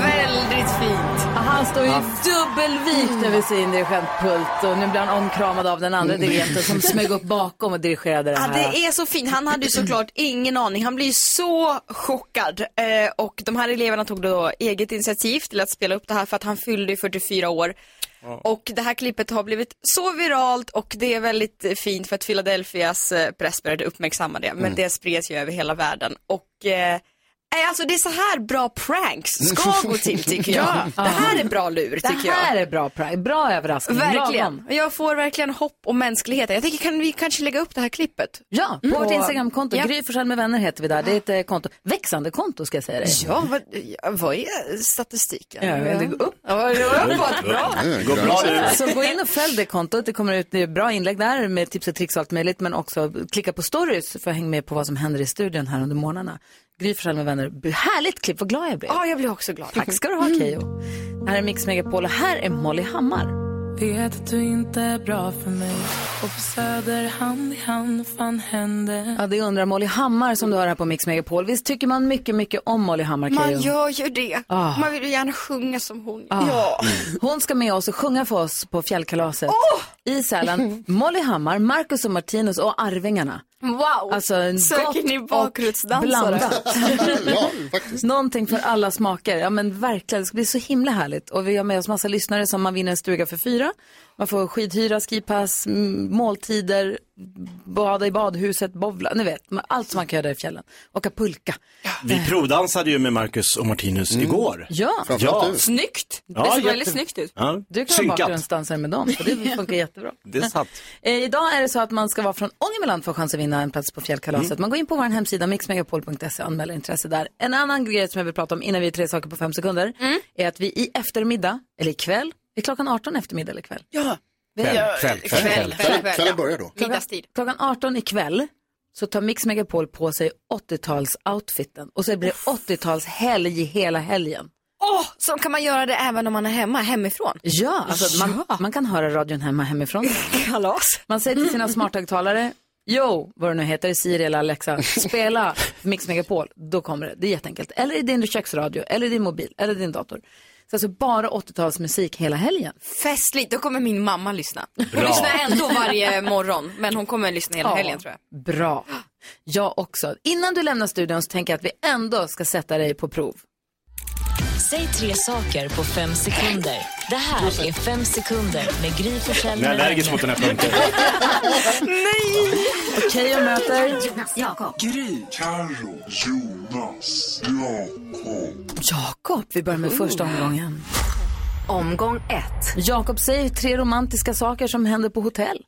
Speaker 17: väldigt fint.
Speaker 4: Han står ju dubbelvikt över sin dirigentpult och nu blir han omkramad av den andra dirigenten som smög upp bakom och dirigerade det
Speaker 17: Ja,
Speaker 4: här.
Speaker 17: det är så fint. Han hade ju såklart ingen aning. Han blir ju så chockad. Eh, och de här eleverna tog då eget initiativ till att spela upp det här för att han fyllde ju 44 år. Och det här klippet har blivit så viralt och det är väldigt eh, fint för att Philadelphias eh, press började uppmärksamma det. Men
Speaker 4: Mm.
Speaker 17: det spreds ju över hela världen. Och eh, Nej, alltså det är så här bra pranks ska gå till tycker jag. Det här är bra lur tycker
Speaker 4: Det
Speaker 17: jag.
Speaker 4: här är bra, pra- bra överraskning.
Speaker 17: Verkligen.
Speaker 4: Lagom.
Speaker 17: Jag får verkligen hopp om mänskligheten. Jag tänker kan vi kanske lägga upp det här klippet?
Speaker 4: Ja, Mm. på vårt Instagramkonto, Gry Forssell med vänner heter vi där. Det är ett eh, konto, växande konto ska jag säga dig.
Speaker 17: Ja, vad, ja, vad är statistiken?
Speaker 4: Ja, men det går upp.
Speaker 17: Ja, det går upp. Bra.
Speaker 8: Det går bra nu.
Speaker 4: Så gå in och följ det kontot. Det kommer ut det är bra inlägg där med tips och tricks och allt möjligt. Men också klicka på stories för att hänga med på vad som händer i studion här under morgnarna. Gry Forssell med vänner. Härligt klipp, vad glad jag blev.
Speaker 17: Ja, jag blir också glad.
Speaker 4: Tack ska du ha Keyyo. Här är Mix Megapol och här är Molly Hammar.
Speaker 2: Vet att du inte är bra för mig Och på Söder hand i hand fan hände
Speaker 4: Ja, det undrar Molly Hammar som du hör här på Mix Megapol. Visst tycker man mycket, mycket om Molly Hammar Keyyo?
Speaker 17: Man gör ju det.
Speaker 4: Ah.
Speaker 17: Man vill ju gärna sjunga som hon.
Speaker 4: Ah.
Speaker 17: Ja.
Speaker 4: Hon ska med oss och sjunga för oss på fjällkalaset i Sälen. Molly Hammar, Marcus och Martinus och Arvingarna.
Speaker 17: Wow.
Speaker 4: Alltså en
Speaker 17: Söker
Speaker 4: gott
Speaker 17: ni
Speaker 4: och
Speaker 17: bakgrundsdansare?
Speaker 4: blandat. Någonting för alla smaker. Ja men verkligen, det ska bli så himla härligt. Och vi har med oss massa lyssnare som man vinner en stuga för fyra. Man får skidhyra, skipass, m- måltider, bada i badhuset, bowla, ni vet. men Allt som man kan göra där i fjällen. Åka pulka.
Speaker 8: Vi provdansade ju med Marcus och Martinus igår.
Speaker 4: Ja,
Speaker 8: ja.
Speaker 17: snyggt.
Speaker 8: Ja, jätte- Ja.
Speaker 4: Du kan vara
Speaker 8: Synkat.
Speaker 4: bakgrundsdansare med dem, så det funkar jättebra.
Speaker 8: Det är sant.
Speaker 4: Eh, idag är det så att man ska vara från Ångermanland för att chansa att vinna en plats på fjällkalaset. Man går in på vår hemsida mixmegapol.se och anmäler intresse där. En annan grej som jag vill prata om innan vi gör tre saker på fem sekunder är att vi i eftermiddag, eller ikväll, är klockan 18 eftermiddag eller kväll?
Speaker 17: Ja.
Speaker 6: Kväll, kväll, kväll, kväll. Kväll- kväll. kvällen börjar då.
Speaker 4: Klockan, klockan 18 ikväll så tar Mix Megapol på sig 80-tals-outfiten och så blir det 80-talshelg hela helgen.
Speaker 17: Åh, så kan man göra det även om man är hemma, hemifrån?
Speaker 4: Ja, alltså Man, man kan höra radion hemma hemifrån.
Speaker 17: Kalas.
Speaker 4: Man säger till sina smarthögtalare, jo, vad det nu heter, Siri eller Alexa, spela Mix Megapol, då kommer det. Det är jätteenkelt. Eller i din köksradio, eller i din mobil, eller din dator. Så alltså bara 80-talsmusik hela helgen.
Speaker 17: Festligt, då kommer min mamma lyssna. Hon
Speaker 4: Bra.
Speaker 17: lyssnar ändå varje morgon, men hon kommer lyssna hela
Speaker 4: Ja.
Speaker 17: helgen tror jag.
Speaker 4: Bra. Jag också. Innan du lämnar studion så tänker jag att vi ändå ska sätta dig på prov.
Speaker 5: Säg tre saker på fem sekunder. Det här är fem sekunder med Gry Forssell
Speaker 8: Jag är allergisk mot den här punkten.
Speaker 5: Nej!
Speaker 4: Okej, jag möter...
Speaker 5: Jonas, Jakob.
Speaker 4: Gry.
Speaker 18: Carro, Jonas, Jakob.
Speaker 4: Jakob, vi börjar med första omgången.
Speaker 5: Oh. Omgång ett.
Speaker 4: Jakob, säg tre romantiska saker som händer på hotell.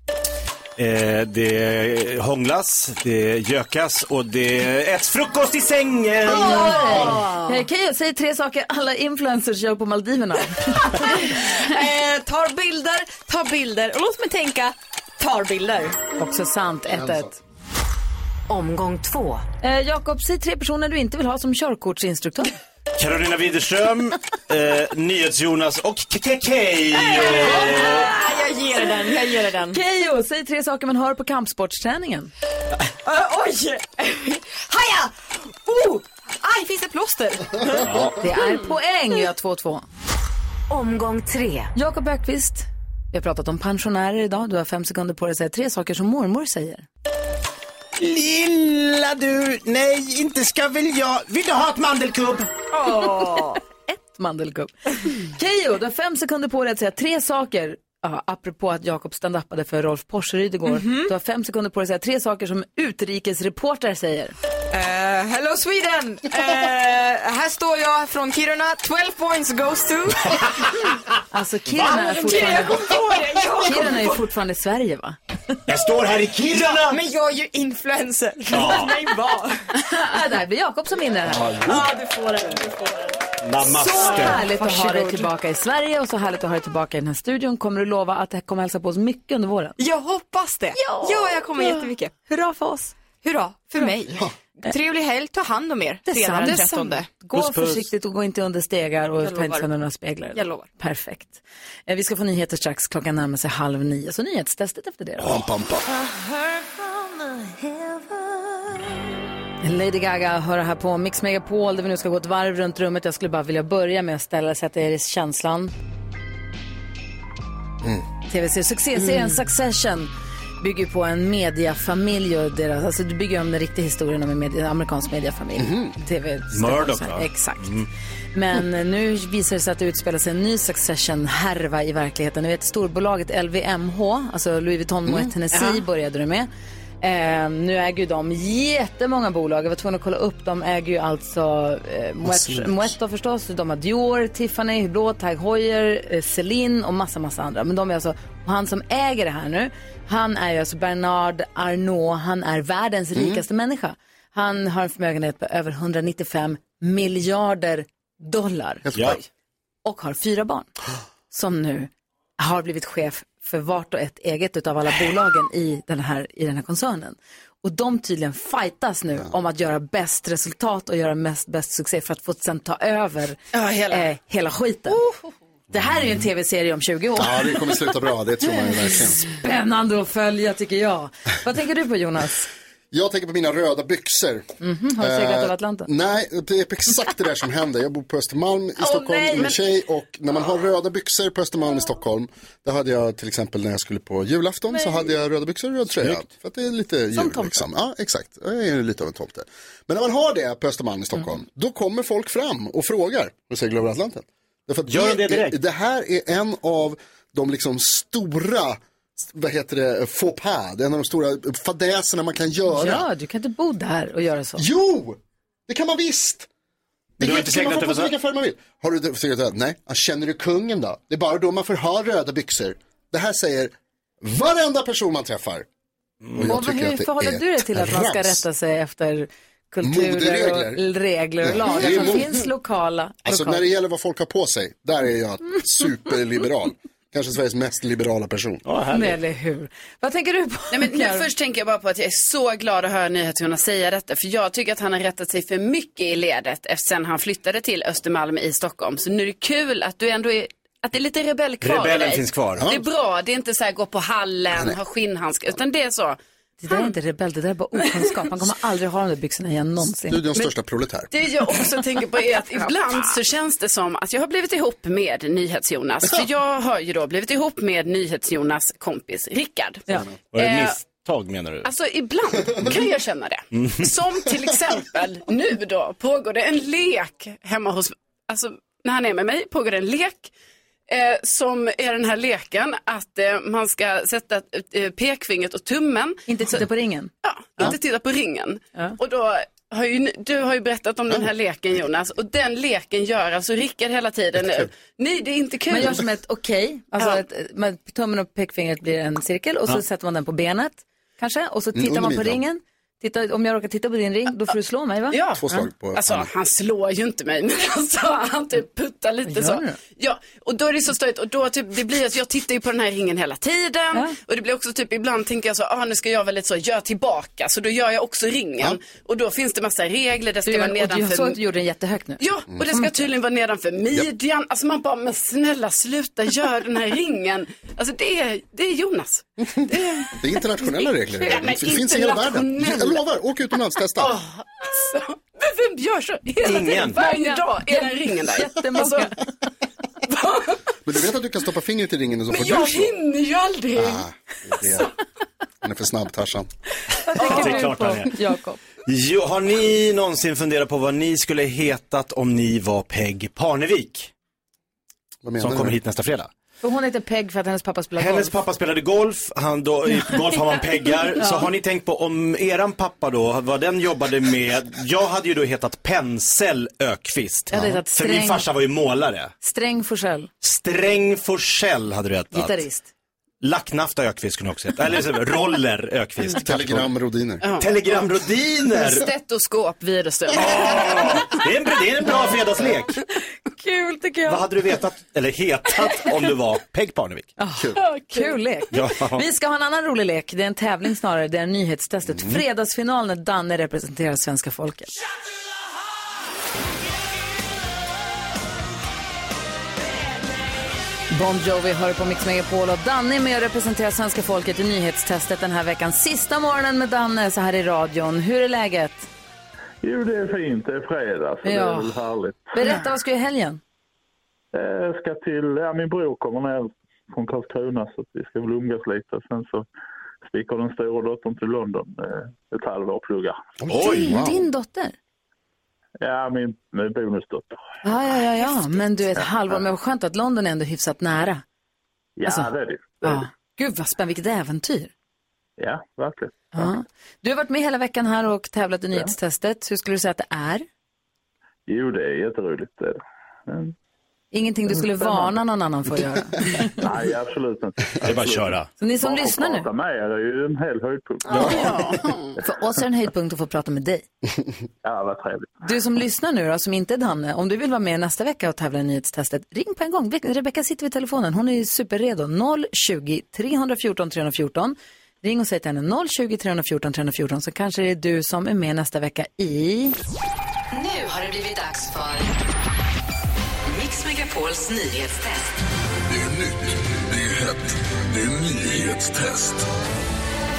Speaker 8: Eh, det hånglas, det gökas och det äts frukost i sängen.
Speaker 5: Oh.
Speaker 4: Okej, säg tre saker alla influencers gör på Maldiverna.
Speaker 17: Eh, tar bilder, tar bilder och låt mig tänka, tar bilder.
Speaker 4: Också sant, 1-1.
Speaker 5: Omgång två.
Speaker 4: Eh, Jakob, säg tre personer du inte vill ha som körkortsinstruktör.
Speaker 8: Carolina Widerström, eh, NyhetsJonas och KKK.
Speaker 17: jag ger dig den, jag ger dig den.
Speaker 4: Keyyo, säg tre saker man hör på kampsportsträningen.
Speaker 17: Eh, oj! Haja! Oh! Aj, finns det plåster?
Speaker 4: Det är poäng, jag har 2-2.
Speaker 5: Omgång tre.
Speaker 4: Jakob Bergqvist, vi har pratat om pensionärer idag. Du har fem sekunder på dig att säga tre saker som mormor säger.
Speaker 8: Lilla du, nej inte ska väl jag. Vill du ha ett mandelkubb?
Speaker 4: Ett mandelkubb. Keyyo, du har fem sekunder på dig att säga tre saker. Ja, apropå att Jakob standupade för Rolf Porseryd igår.
Speaker 17: Mhm.
Speaker 4: Du har fem sekunder på dig att säga tre saker som utrikesreportrar säger.
Speaker 17: Eh, hello Sweden! Eh, här står jag från Kiruna, 12 points goes to...
Speaker 4: Alltså Kiruna är
Speaker 17: Va? Kiruna, jag kom på det, jag kom
Speaker 4: fortfarande... Kiruna är ju
Speaker 17: på-
Speaker 4: fortfarande Sverige va?
Speaker 8: Jag står här i
Speaker 17: Ja,
Speaker 8: Kiruna.
Speaker 17: men jag är ju influencer.
Speaker 8: Ja.
Speaker 17: Låt mig vara.
Speaker 4: Ja, det här blir Jakob som vinner här.
Speaker 17: Ja, du får den. Du får den.
Speaker 4: Så
Speaker 8: Namaste.
Speaker 4: härligt att ha dig
Speaker 17: Varsågod.
Speaker 4: tillbaka i Sverige och så härligt att ha dig tillbaka i den här studion. Kommer du lova att det här kommer hälsa på oss mycket under våren?
Speaker 17: Jag hoppas det. Ja, jag kommer
Speaker 4: Ja.
Speaker 17: jättemycket.
Speaker 4: Hurra för oss.
Speaker 17: Hurra för mig. Trevlig helg, ta hand om er. Fredag den 13.
Speaker 4: Gå försiktigt och gå inte under stegar och
Speaker 17: Jag
Speaker 4: ta inte
Speaker 17: lovar.
Speaker 4: sönder några speglar.
Speaker 17: Jag lovar.
Speaker 4: Perfekt. Eh, Vi ska få nyheter strax. Klockan närmar sig halv nio. Så nyhetstestet efter det då. Lady Gaga hör här på Mix Megapol där vi nu ska gå ett varv runt rummet. Jag skulle bara vilja börja med att ställa sätta er i känslan. Tv-serien, succéserien
Speaker 22: Mm.
Speaker 4: Succession bygger ju på en mediafamilj och deras, alltså du bygger om den riktiga historien om en media, amerikansk mediafamilj. TV
Speaker 22: Mhm. Murdoch,
Speaker 4: så här,
Speaker 22: va? Mm.
Speaker 4: Exakt. Men eh, nu visar det sig att det utspelar sig en ny Succession-härva i verkligheten. Ni vet storbolaget LVMH, alltså Louis Vuitton och
Speaker 22: Mm.
Speaker 4: Tennessee
Speaker 22: Ja.
Speaker 4: började det med. Eh, nu äger ju de jättemånga bolag. Jag var tvungen att kolla upp. De äger ju alltså eh,
Speaker 12: Smuts.
Speaker 4: Moet- Moetto förstås. De har Dior, Tiffany, Hublot, Tag Heuer, eh, Celine och massa, massa andra. Men de är alltså, och han som äger det här nu, han är ju alltså Bernard Arnault. Han är världens
Speaker 12: Mm.
Speaker 4: rikaste människa. Han har en förmögenhet på över 195 miljarder dollar. Och har fyra barn. Som nu har blivit chef för vart och ett eget utav alla bolagen i den här, i den här koncernen. Och de tydligen fightas nu om att göra bäst resultat och göra mest, bäst succé för att få sen ta över hela. Eh, hela skiten. Det här är ju en tv-serie om 20 år.
Speaker 6: Ja, det kommer sluta bra, det tror man ju verkligen.
Speaker 4: Spännande att följa tycker jag. Vad tänker du på Jonas?
Speaker 6: Jag tänker på mina röda byxor.
Speaker 4: Mhm, har du seglat
Speaker 6: Eh,
Speaker 4: över Atlanten?
Speaker 6: Nej, det är exakt det där som händer. Jag bor på Östermalm i
Speaker 4: Åh,
Speaker 6: Stockholm
Speaker 4: nej,
Speaker 6: med
Speaker 4: men- Ah.
Speaker 6: en tjej och när man har röda byxor på Östermalm i Stockholm, det hade jag till exempel när jag skulle på julafton så hade jag röda byxor och röd tröja.
Speaker 8: Snyggt.
Speaker 6: För att det är lite jul
Speaker 8: tomte.
Speaker 6: liksom. Ja, exakt. Jag är ju lite av en tomte. Men när man har det på Östermalm i Stockholm,
Speaker 4: Mm.
Speaker 6: då kommer folk fram och frågar och seglar över Atlanten. Därför att
Speaker 8: Gör de det direkt?
Speaker 6: är- det här är en av de liksom stora vad heter det, faux pas, det är en av de stora fadäserna man kan göra.
Speaker 4: Ja, du kan inte bo där och göra så.
Speaker 6: Jo, det kan man visst. Det
Speaker 4: Du har
Speaker 6: kan
Speaker 4: inte
Speaker 6: kan man
Speaker 4: seglat
Speaker 6: få på
Speaker 4: över-
Speaker 6: vilka färger man vill. Har du seglat över? Nej. Ja, Känner du kungen då? Det är bara då man får ha röda byxor. Det här säger varenda person man träffar. Och jag
Speaker 4: Och
Speaker 6: tycker
Speaker 4: hur
Speaker 6: att det
Speaker 4: förhåller
Speaker 6: är
Speaker 4: du dig till att man ska
Speaker 6: trams.
Speaker 4: rätta sig efter kulturer
Speaker 6: Moderegler.
Speaker 4: och regler och
Speaker 6: Ja, det
Speaker 4: lagar
Speaker 6: är
Speaker 4: som
Speaker 6: mode.
Speaker 4: finns lokala?
Speaker 6: Alltså
Speaker 4: lokala.
Speaker 6: när det gäller vad folk har på sig, där är jag superliberal. Kanske Sveriges mest liberala person.
Speaker 4: Nej, Mm, eller hur. Vad tänker du på?
Speaker 9: Nej, men nu
Speaker 4: Karo?
Speaker 9: först tänker jag bara på att jag är så glad att höra NyhetsJonas säga detta. För jag tycker att han har rättat sig för mycket i ledet efter sen han flyttade till Östermalm i Stockholm. Så nu är det kul att du ändå är att det är lite rebell kvar i
Speaker 8: Rebellen
Speaker 9: dig.
Speaker 8: finns kvar.
Speaker 9: Det är bra, det är inte så här gå på hallen, ha skinnhandskar, utan det är så.
Speaker 4: Det där är inte rebell, det där är bara okunskap. Man kommer aldrig ha de där byxorna igen någonsin.
Speaker 6: Studions
Speaker 4: Men-
Speaker 6: största proletär.
Speaker 9: Det jag också tänker på är att ibland så känns det som att jag har blivit ihop med NyhetsJonas. För jag har ju då blivit ihop med NyhetsJonas kompis Rickard.
Speaker 8: Var det
Speaker 9: Eh,
Speaker 8: ett misstag menar du?
Speaker 9: Alltså ibland kan jag känna det.
Speaker 8: Mm.
Speaker 9: Som till exempel nu då pågår det en lek hemma hos, alltså när han är med mig pågår det en lek eh, som är den här leken att eh, man ska sätta eh, pekfingret och tummen.
Speaker 4: Inte titta på ringen?
Speaker 9: Ja, inte titta på ringen. Och då har ju, ni- du har ju berättat om den här leken Jonas och den leken gör alltså Rickard hela tiden nu. Nej, det är inte kul.
Speaker 4: Man gör som ett okej, alltså
Speaker 9: Ja.
Speaker 4: ett, med tummen och pekfingret blir en cirkel och så
Speaker 9: Ja.
Speaker 4: sätter man den på benet kanske och så
Speaker 9: Mm,
Speaker 4: tittar
Speaker 9: under
Speaker 4: man på
Speaker 9: midjan.
Speaker 4: ringen. Titta, om jag råkar titta på din ring, då får du slå mig va?
Speaker 9: Ja. alltså, han slår ju inte mig, men alltså, han typ puttar lite
Speaker 4: Gör
Speaker 9: så.
Speaker 4: det?
Speaker 9: Ja, och då är det så störigt och då typ, det blir att jag tittar ju på den här ringen hela tiden och det blir också typ ibland tänker jag så, ah, nu ska jag väl lite så, gör tillbaka, så då gör jag också ringen och då finns det massa regler, det
Speaker 4: Du,
Speaker 9: ska
Speaker 4: gör,
Speaker 9: vara
Speaker 4: och du, jag såg
Speaker 9: nedanför
Speaker 4: att du gjorde den jättehögt nu.
Speaker 9: Ja, och det ska tydligen vara nedanför midjan. Alltså man bara, men snälla sluta gör den här ringen. Alltså det är, det är Jonas. Det är...
Speaker 6: Det är internationella regler.
Speaker 9: Ja, men
Speaker 6: Det finns i hela världen.
Speaker 9: internationella.
Speaker 6: Jag lovar, åk utomlands, testa.
Speaker 9: Alltså, men vem gör så? Hela
Speaker 6: Ingen.
Speaker 9: tiden, varje
Speaker 6: Många.
Speaker 9: dag är den ringen där.
Speaker 4: Jättemånga.
Speaker 9: Alltså,
Speaker 6: Men du vet att du kan stoppa fingret i ringen och så
Speaker 9: men
Speaker 6: får du
Speaker 9: jag
Speaker 6: slå.
Speaker 9: hinner ju aldrig.
Speaker 6: Ah, det är det. Han är för snabb, Tarzan.
Speaker 8: Det är klart han är.
Speaker 4: Jakob.
Speaker 8: Jo, har ni någonsin funderat på vad ni skulle hetat om ni var Peg Parnevik?
Speaker 6: menar
Speaker 8: Som
Speaker 6: du?
Speaker 8: kommer hit nästa fredag.
Speaker 4: För hon heter Peg för att hennes pappa spelar
Speaker 8: Hennes
Speaker 4: golf.
Speaker 8: pappa spelade golf, han då, i golf har man peggar. Så
Speaker 4: Ja.
Speaker 8: har ni tänkt på om eran pappa då, vad den jobbade med. Jag hade ju då hetat Pensel Ökvist.
Speaker 4: Jag hade hetat
Speaker 8: För min
Speaker 4: Sträng.
Speaker 8: farsa var ju målare.
Speaker 4: Sträng Forsell,
Speaker 8: Sträng Forsell hade du hetat.
Speaker 4: gitarrist.
Speaker 8: Lacknafta Ökvist kunde jag också heta. Eller så, Roller Ökvist.
Speaker 6: Mm. Telegram
Speaker 8: Rodiner. Telegram Rodiner.
Speaker 9: Stetoskop Widerström.
Speaker 8: Det är en, det är en bra fredagslek.
Speaker 4: Kul tycker jag.
Speaker 8: Vad hade du vetat, eller hetat, om du var Peg Parnevik? Kul.
Speaker 4: Kul lek.
Speaker 8: Ja.
Speaker 4: Vi ska ha en annan rolig lek. Det är en tävling snarare. Det är nyhetstestet. Fredagsfinal när Danne representerar svenska folket. Bon Jovi hör på Mix Megapol och Danne är med och representerar svenska folket i nyhetstestet den här veckan. Sista morgonen med Danne så här i radion. Hur är läget?
Speaker 3: Jo, det är fint. Det är fredag, så det
Speaker 4: Ja.
Speaker 3: är väl härligt.
Speaker 4: Berätta, vad ska du i helgen?
Speaker 3: Eh, Jag ska till, ja, min bror kommer ner från Karlskrona så att vi ska väl umgås lite. Sen så sticker den stora dottern till London eh, ett halvår och pluggar.
Speaker 4: din, din dotter?
Speaker 3: Ja, min, min bonusdotter.
Speaker 4: Ja, ja, ja, ja. men du är ett halvår. Men vad skönt att London är ändå hyfsat nära.
Speaker 3: Ja,
Speaker 4: Alltså,
Speaker 3: det är det.
Speaker 4: Ja. Gud vad spännande, vilket äventyr.
Speaker 3: Ja, verkligen.
Speaker 4: Ja. Du har varit med hela veckan här och tävlat i nyhetstestet. Hur skulle du säga att det är?
Speaker 3: Jo, det är jätteroligt. det är det. Men,
Speaker 4: Ingenting du skulle varna någon annan för att göra.
Speaker 3: nej, absolut inte. Det är bara att köra.
Speaker 4: Så ni som lyssnar nu?
Speaker 3: Prata med er är ju en hel höjdpunkt.
Speaker 4: För oss är det en höjdpunkt att få prata med dig.
Speaker 3: Ja, vad trevligt.
Speaker 4: Du som lyssnar nu då, som inte är Danne, om du vill vara med nästa vecka och tävla i nyhetstestet, ring på en gång. Ve- Rebecka sitter vid telefonen, hon är ju superredo. 020 314 314. Ring och säg till henne 020 314 314 så kanske det är du som är med nästa vecka i...
Speaker 12: Nu har det blivit dags för Mix Megapols nyhetstest.
Speaker 1: Det är nytt, det är hett, det är nyhetstest.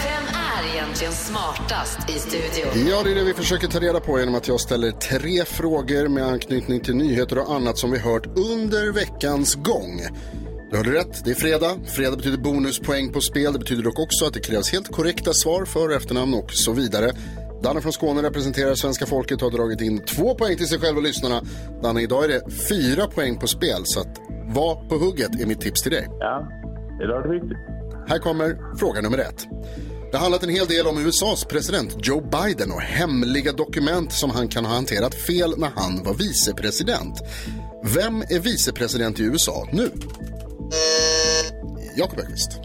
Speaker 12: Vem är egentligen smartast i studion?
Speaker 6: Ja, det är det vi försöker ta reda på genom att jag ställer tre frågor med anknytning till nyheter och annat som vi hört under veckans gång. Du hörde rätt, det är fredag. Fredag betyder bonuspoäng på spel. Det betyder dock också att det krävs helt korrekta svar för och efternamn och så vidare. Danne från Skåne representerar svenska folket och har dragit in två poäng till sig själv och lyssnarna. Danne, idag är det fyra poäng på spel, så att var på hugget är mitt tips till dig.
Speaker 3: Ja, det är viktigt.
Speaker 6: Här kommer fråga nummer ett. Det har handlat en hel del om USAs president Joe Biden och hemliga dokument som han kan ha hanterat fel när han var vicepresident. Vem är vicepresident i USA nu? Jakob Öqvist.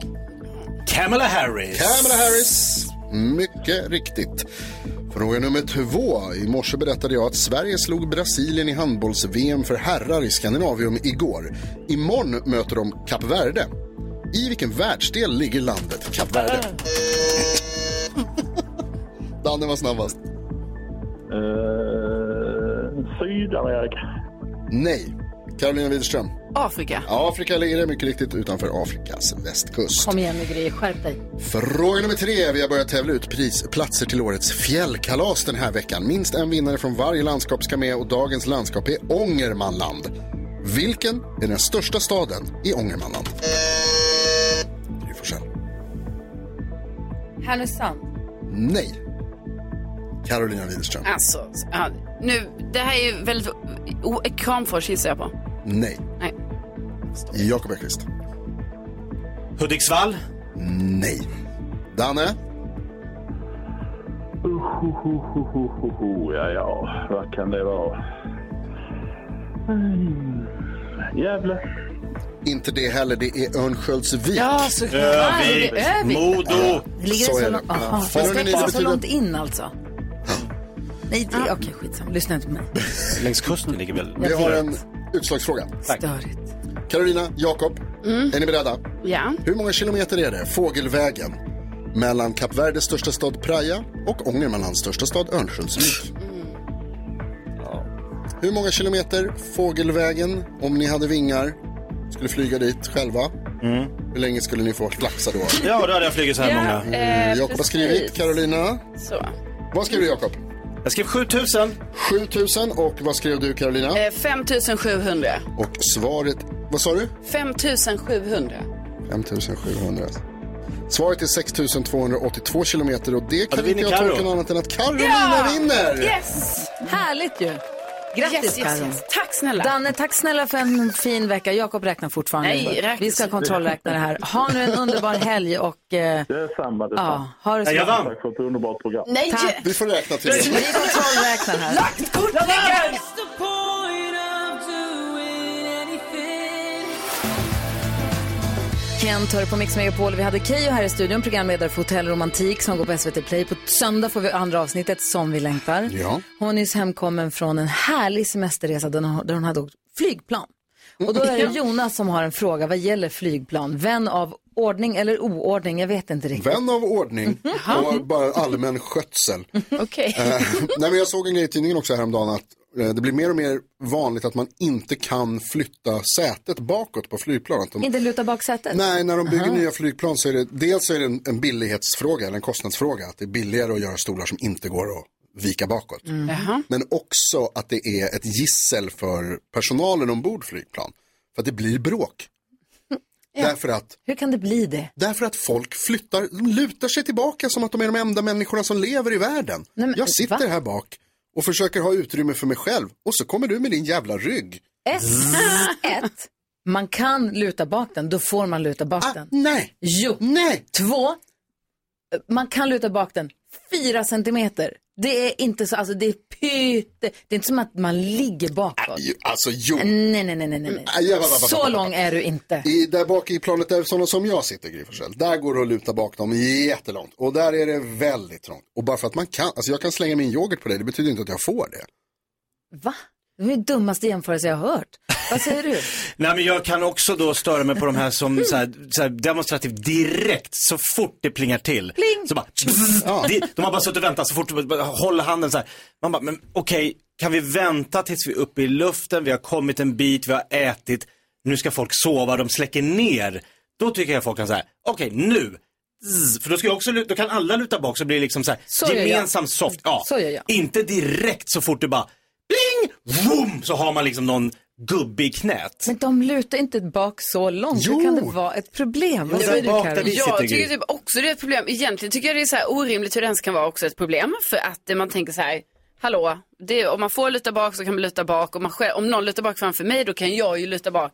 Speaker 8: Kamala Harris.
Speaker 6: Kamala Harris. Mycket riktigt. Fråga nummer två. I morse berättade jag att Sverige slog Brasilien i handbolls-VM för herrar i Skandinavium igår. Imorgon möter de Kap Verde. I vilken världsdel ligger landet Kap Verde? Danne var snabbast.
Speaker 3: Eh, Sydamerika.
Speaker 6: Nej. Carolina Widerström.
Speaker 9: Afrika.
Speaker 6: Afrika ligger det mycket riktigt utanför Afrikas västkust.
Speaker 4: Kom igen nu grejer, skärp dig.
Speaker 6: Fråga nummer tre. Vi har börjat tävla ut prisplatser till årets fjällkalas den här veckan. Minst en vinnare från varje landskap ska med och dagens landskap är Ångermanland. Vilken är den största staden i Ångermanland? Gry Forssell.
Speaker 4: Härnösand.
Speaker 6: Nej. Carolina Widerström.
Speaker 9: Alltså, så- ja, nu, det här är ju väldigt... O- Kramfors gissar jag på.
Speaker 6: Nej.
Speaker 9: Nej.
Speaker 6: Jakob Ekqvist.
Speaker 8: Hudiksvall.
Speaker 6: Nej. Danne.
Speaker 3: Hohohohoho, Ja, ja, vad kan det vara? Mm. Gävle.
Speaker 6: Inte det heller, det är Örnsköldsvik.
Speaker 4: Ja, såklart. Övik. Det är Övik. Modo. Ligger det
Speaker 6: Så
Speaker 4: så,
Speaker 6: är
Speaker 4: långt- Aha,
Speaker 6: Ja.
Speaker 4: det
Speaker 6: Frågan är,
Speaker 4: sträcker
Speaker 6: det
Speaker 4: sig så
Speaker 6: betyder-
Speaker 4: långt in alltså? Nej, det, okej skitsamma. Lyssna inte på mig.
Speaker 8: Längs kusten ligger väl...
Speaker 6: Vi har en utslagsfråga.
Speaker 4: Störigt.
Speaker 6: Carolina, Jakob,
Speaker 4: Mm.
Speaker 6: är ni beredda?
Speaker 9: Ja.
Speaker 6: Hur många kilometer är det, fågelvägen, mellan Kap Verdes största stad Praia och Ångermanlands största stad Örnsköldsvik?
Speaker 4: Mm.
Speaker 6: Hur många kilometer fågelvägen, om ni hade vingar, skulle flyga dit själva? Hur länge skulle ni få flaxa då?
Speaker 8: Ja, då hade jag flugit så här
Speaker 6: Ja,
Speaker 8: många.
Speaker 6: eh, Jakob har skrivit, precis. Carolina.
Speaker 9: Så.
Speaker 6: Vad skrev du, Jakob?
Speaker 8: Jag skrev 7000.
Speaker 6: 7000 och vad skrev du, Carolina?
Speaker 9: Eh, 5700.
Speaker 6: Och svaret, vad sa du?
Speaker 9: 5700.
Speaker 6: 5700. Svaret är 6282 kilometer och det kan
Speaker 9: då
Speaker 6: inte
Speaker 9: vinner
Speaker 6: jag
Speaker 9: Karo.
Speaker 6: tolka något annat än att Carolina vinner!
Speaker 9: Yes!
Speaker 4: Härligt ju. Grattis
Speaker 9: Yes, yes,
Speaker 4: Karo.
Speaker 9: yes. Tack snälla.
Speaker 4: Danne, tack snälla för en fin vecka. Jakob räknar fortfarande.
Speaker 9: Nej, räknas
Speaker 4: Vi ska
Speaker 9: inte.
Speaker 4: kontrollräkna det här. Ha nu en underbar helg och... Eh,
Speaker 3: Detsamma,
Speaker 4: ja, ha det så
Speaker 3: jag
Speaker 4: bra.
Speaker 3: vann. Tack för ett underbart program.
Speaker 4: Nej! Tack.
Speaker 6: Vi får räkna till det.
Speaker 4: Vi kontrollräknar här.
Speaker 12: Lagt
Speaker 4: kort Kent hör på Mix Megapol. Vi hade Keyyo här i studion, programledare för Hotell Romantik som går på SVT Play. På söndag får vi andra avsnittet som vi längtar.
Speaker 12: Ja.
Speaker 4: Hon är nyss hemkommen från en härlig semesterresa där hon, där hon hade åkt flygplan. Och då är det Jonas som har en fråga vad gäller flygplan. Vän av ordning eller oordning? Jag vet inte riktigt.
Speaker 6: Vän av ordning och bara allmän skötsel.
Speaker 9: Mhm. Okej.
Speaker 6: Eh, Nej, men jag såg en grej i tidningen också häromdagen att eh, det blir mer och mer vanligt att man inte kan flytta sätet bakåt på flygplan. Att de-
Speaker 4: Inte luta baksätet?
Speaker 6: Nej, när de bygger
Speaker 4: Aha.
Speaker 6: nya flygplan så är det dels så är det en, en billighetsfråga eller en kostnadsfråga. Att det är billigare att göra stolar som inte går att vika bakåt.
Speaker 4: Mm.
Speaker 9: Jaha.
Speaker 6: Men också att det är ett gissel för personalen ombord flygplan. För att det blir bråk. Därför att
Speaker 4: Hur kan det bli det?
Speaker 6: Därför att folk flyttar, de lutar sig tillbaka som att de är de enda människorna som lever i världen.
Speaker 4: Nej, men,
Speaker 6: jag sitter här bak och försöker ha utrymme för mig själv och så kommer du med din jävla rygg.
Speaker 4: S1. Man kan luta bak den, då får man luta bak den.
Speaker 6: Ah, Nej.
Speaker 4: Jo.
Speaker 6: Nej.
Speaker 4: Två. man kan luta bak den fyra centimeter. Det är inte så, alltså det är pytte, det är inte som att man ligger bakåt.
Speaker 6: Alltså jo.
Speaker 4: Nej, nej, nej, nej, nej.
Speaker 6: Mm. Aj, ja, va, va, va, va, va,
Speaker 4: Så
Speaker 6: va.
Speaker 4: lång är du inte.
Speaker 6: I, där bak i planet där sådana som jag sitter, Gry Forssell, där går det att luta bak dem jättelångt. Och där är det väldigt trångt. Och bara för att man kan, alltså jag kan slänga min yoghurt på dig, det betyder inte att jag får det.
Speaker 4: Va? Det är den dummaste jämförelse jag har hört. Vad säger du?
Speaker 8: Nej men jag kan också då störa mig på de här som så här, så här demonstrativt direkt så fort det plingar till.
Speaker 4: Pling!
Speaker 8: Så bara, de, de har bara suttit och väntat så fort, bara- bara håller handen så här. Man bara, men okej, kan vi vänta tills vi är uppe i luften, vi har kommit en bit, vi har ätit, nu ska folk sova, de släcker ner. Då tycker jag folk kan säga, okej nu, Zzz, för då, ska jag också, lu- då kan alla luta bak så blir det liksom så här,
Speaker 4: Så gör jag.
Speaker 8: gemensam soft. Ja.
Speaker 4: Så gör jag.
Speaker 8: Inte direkt så fort du bara, pling, vroom, så har man liksom någon gubbe i knät.
Speaker 4: Men de lutar inte bak så långt. Hur kan det vara ett problem? Vad
Speaker 8: Jo,
Speaker 4: säger
Speaker 8: där bak
Speaker 4: du
Speaker 8: där
Speaker 4: Carro?
Speaker 8: vi
Speaker 9: Jag tycker typ också det är ett problem. Egentligen tycker jag det är så här orimligt hur det ens kan vara också ett problem. För att eh, man tänker så här, hallå, det är, om man får luta bak så kan man luta bak. Om, man själv, om någon lutar bak framför mig då kan jag ju luta bak.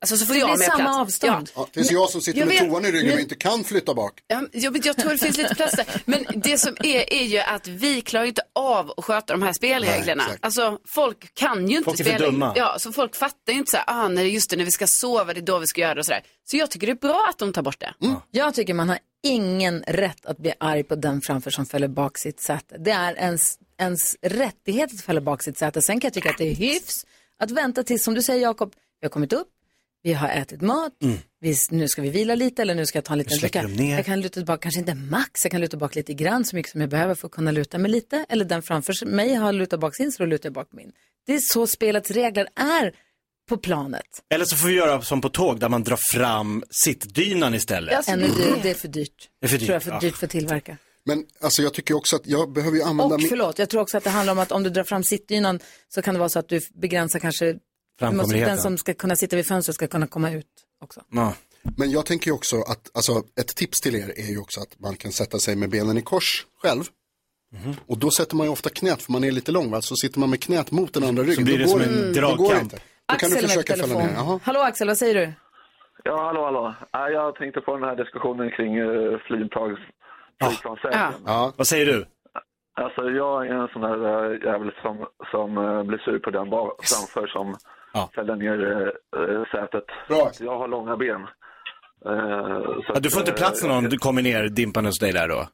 Speaker 9: Alltså så får
Speaker 4: Det
Speaker 9: jag
Speaker 4: blir
Speaker 9: mer
Speaker 4: samma
Speaker 9: plats.
Speaker 4: avstånd.
Speaker 9: Ja.
Speaker 6: Ja, tills jag som sitter
Speaker 9: Jag
Speaker 6: med
Speaker 9: vet-
Speaker 6: toan i ryggen och
Speaker 9: men-
Speaker 6: inte kan flytta bak.
Speaker 9: Ja, men jag vet- jag tror det finns lite plats där. Men det som är, är ju att vi klarar ju inte av att sköta de här spelreglerna.
Speaker 6: Nej, exakt.
Speaker 9: alltså folk kan ju inte
Speaker 6: Folk är för
Speaker 9: spela.
Speaker 6: dumma.
Speaker 9: Ja, så folk fattar ju inte så här, ah, nej, just det, när vi ska sova, det är då vi ska göra det och sådär. Så jag tycker det är bra att de tar bort det.
Speaker 6: Mm.
Speaker 4: Jag tycker man har ingen rätt att bli arg på den framför som fäller bak sitt säte. Det är ens, ens rättighet att fälla bak sitt säte. Sen kan jag tycka att det är hyfs att vänta tills, som du säger Jakob, vi har kommit upp, vi har ätit mat, vi, nu ska vi vila lite eller nu ska jag ta en liten
Speaker 8: Mm. släcker
Speaker 4: dricka.
Speaker 8: de ner.
Speaker 4: Jag kan luta bak, kanske inte max, jag kan luta bak lite grann, så mycket som jag behöver för att kunna luta mig lite. Eller den framför mig har lutat bak sin, så då lutar jag bak min. Det är så spelets regler är på planet.
Speaker 8: Eller så får vi göra som på tåg där man drar fram sittdynan istället.
Speaker 4: Ännu, Alltså, det, det är för dyrt.
Speaker 8: Det är för dyrt,
Speaker 4: Tror jag för
Speaker 8: ja.
Speaker 4: dyrt för att tillverka.
Speaker 6: Men alltså jag tycker också att jag behöver ju använda
Speaker 4: Och förlåt, jag tror också att det handlar om att om du drar fram sittdynan så kan det vara så att du begränsar kanske du måste,
Speaker 6: Framkomligheten.
Speaker 4: den som ska kunna sitta vid fönstret ska kunna komma ut också.
Speaker 6: Men jag tänker ju också att, alltså ett tips till er är ju också att man kan sätta sig med benen i kors själv.
Speaker 8: Mhm.
Speaker 6: Och då sätter man ju ofta knät för man är lite lång va? Så sitter man med knät mot den andra ryggen.
Speaker 8: blir det
Speaker 6: då går
Speaker 8: som
Speaker 6: då
Speaker 8: en
Speaker 6: går det
Speaker 8: dragkamp.
Speaker 6: inte. Då kan
Speaker 4: Axel
Speaker 6: du
Speaker 4: är med på
Speaker 6: försöka fälla
Speaker 4: telefon.
Speaker 6: ner. Jaha.
Speaker 4: Hallå Axel, vad säger du?
Speaker 7: Ja, hallå, hallå. Ja, Jag tänkte på den här diskussionen kring uh, flygplans, flygplanssäkerhet.
Speaker 8: Vad säger du?
Speaker 7: Alltså, jag är en sån där eh, jävel som, som eh, blir sur på den bak, framför som fäller ner uh, sätet.
Speaker 6: Bra.
Speaker 7: Jag har långa ben. Eh, så
Speaker 8: Ja, du får
Speaker 7: att,
Speaker 8: inte
Speaker 7: eh,
Speaker 8: plats när någon du kommer ner dimpan hos dig där då?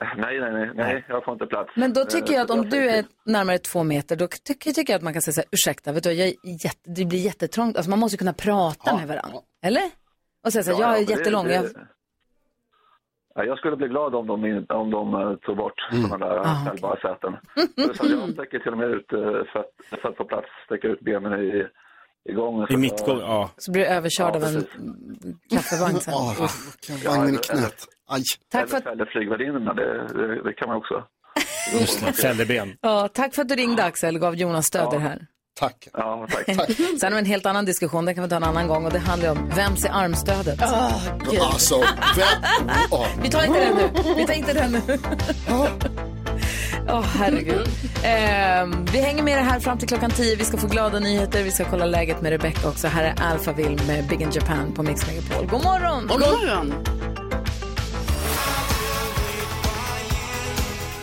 Speaker 7: Nej, nej, nej, nej, jag får inte plats.
Speaker 4: Men då
Speaker 7: Eh,
Speaker 4: tycker jag att om du är närmare två meter, då tycker, tycker jag att man kan säga så här, ursäkta, vet du, jag är jätte, det blir jättetrångt. Alltså man måste ju kunna prata med varandra, eller? Och säga så här,
Speaker 7: Ja,
Speaker 4: alltså, jag
Speaker 7: ja,
Speaker 4: är
Speaker 7: men det-
Speaker 4: jättelång,
Speaker 7: det-
Speaker 4: jag,
Speaker 7: Ja, jag skulle bli glad om de, in- om de eh, tog bort
Speaker 8: Mm.
Speaker 7: sådana
Speaker 4: Ah,
Speaker 7: där fällbara säten. Så jag sträcker till och med ut, eh, för att, för att få plats, sträcker ut benen i, i gången.
Speaker 8: I mittgång, ja.
Speaker 4: så blir jag överkörd
Speaker 7: Ja,
Speaker 4: av en
Speaker 7: precis.
Speaker 4: mm, kaffevagn sen.
Speaker 6: Vagnen i knät. Aj.
Speaker 4: Tack
Speaker 7: eller
Speaker 4: för
Speaker 7: för
Speaker 4: att-
Speaker 7: fäller flygvärdinnorna, det, det, det kan man också.
Speaker 8: Just det, fälleben.
Speaker 4: Ja, tack för att du ringde Axel, gav Jonas stöder här.
Speaker 6: Tack.
Speaker 7: Ja, tack.
Speaker 4: Sen har vi en helt annan diskussion, den kan vi ta en annan gång och det handlar ju om vems är armstödet? Gud.
Speaker 6: Alltså, vem? Ja.
Speaker 4: Vi tar inte den nu. Vi tar inte den nu. Åh, herregud. Ehm, vi hänger med er här fram till klockan 10. Vi ska få glada nyheter. Vi ska kolla läget med Rebecca också. Här är Alphaville med Big in Japan på Mix Megapol. God morgon!
Speaker 9: God morgon!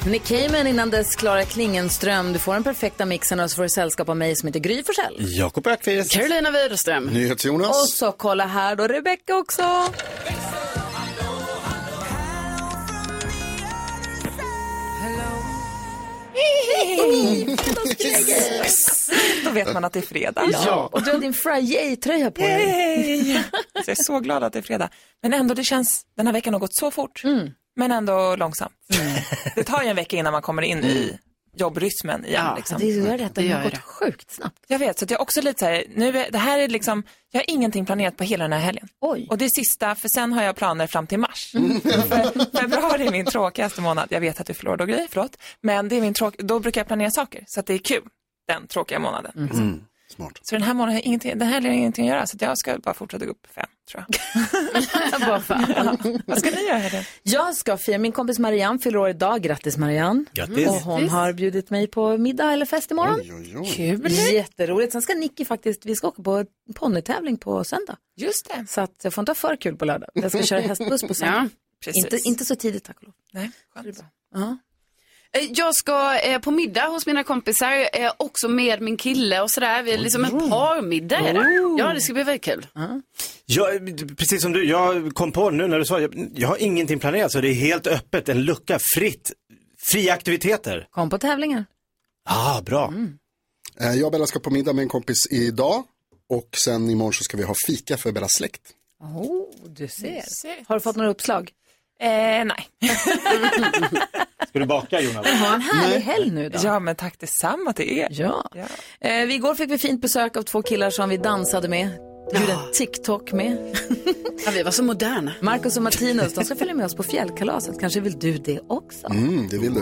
Speaker 4: Nick Cayman innan dess Klara Klingenström. Du får den perfekta mixen och så får du sällskap av mig som heter Gry Forssell.
Speaker 8: Jakob Ökvist.
Speaker 9: Carolina Widerström.
Speaker 4: Och så kolla här då Rebecca också.
Speaker 22: Då vet man att det är fredag.
Speaker 4: Ja. Och du har din Friday-tröja på dig.
Speaker 22: Så jag är så glad att det är fredag. Men ändå, det känns, den här veckan har gått så fort.
Speaker 4: Mm.
Speaker 22: Men ändå långsamt. Det tar ju en vecka innan man kommer in i jobbrytmen igen.
Speaker 4: Ja,
Speaker 22: liksom.
Speaker 4: det gör det. Den
Speaker 22: gör
Speaker 4: har gått
Speaker 22: det.
Speaker 4: sjukt snabbt.
Speaker 22: Jag vet, så att jag är också lite så här, nu är, det här är liksom, jag har ingenting planerat på hela den här helgen. Och det är sista, för sen har jag planer fram till mars. För Februari är min tråkigaste månad, jag vet att du förlorar då grejer, förlåt. Men det är min tråk, då brukar jag planera saker, så att det är kul, den tråkiga månaden. liksom. Så den här månaden har jag ingenting, den här helgen har jag ingenting att göra, så att jag ska bara fortsätta gå upp fem, tror jag.
Speaker 4: Bara fan.
Speaker 22: Vad ska ni göra här
Speaker 4: Jag ska fira, min kompis Marianne fyller år idag. Grattis Marianne.
Speaker 22: Grattis.
Speaker 9: Mm.
Speaker 4: Och hon har bjudit mig på middag eller fest imorgon. Kul. Jätteroligt. Sen ska Nicky faktiskt, vi ska åka på en ponnytävling på söndag.
Speaker 22: Just det.
Speaker 4: Så att jag får inte ha för kul på lördag. Jag ska köra hästbuss på söndag.
Speaker 23: Precis.
Speaker 4: Inte, inte så tidigt tack och lov.
Speaker 23: Nej,
Speaker 4: skönt. Ja.
Speaker 9: Eh, Jag ska eh, på middag hos mina kompisar, eh, också med min kille och sådär. Vi är liksom en parmiddag. är det. Ja, det ska bli väldigt kul.
Speaker 8: Jag, precis som du, jag kom på nu när du sa, jag, jag har ingenting planerat så det är helt öppet, en lucka, fritt, fria aktiviteter.
Speaker 4: Kom på tävlingar.
Speaker 8: Ah, bra.
Speaker 9: Mm.
Speaker 6: Eh, Jag och Bella ska på middag med en kompis idag och sen imorgon så ska vi ha fika för Bellas släkt.
Speaker 4: Oh, du ser. Har du fått några uppslag?
Speaker 22: nej.
Speaker 8: Ska du baka Jonas?
Speaker 4: Men ha en härlig helg nu då.
Speaker 22: Ja, men tack detsamma till er.
Speaker 4: Ja. Eh, vi igår fick vi fint besök av två killar som vi dansade med. Gjorde en TikTok med.
Speaker 9: ja, vi var så moderna.
Speaker 4: Marcus och Martinus, de ska följa med oss på fjällkalaset. Kanske vill du det också?
Speaker 6: Mm, det vill du.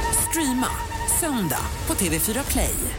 Speaker 12: Streama söndag på TV4 Play.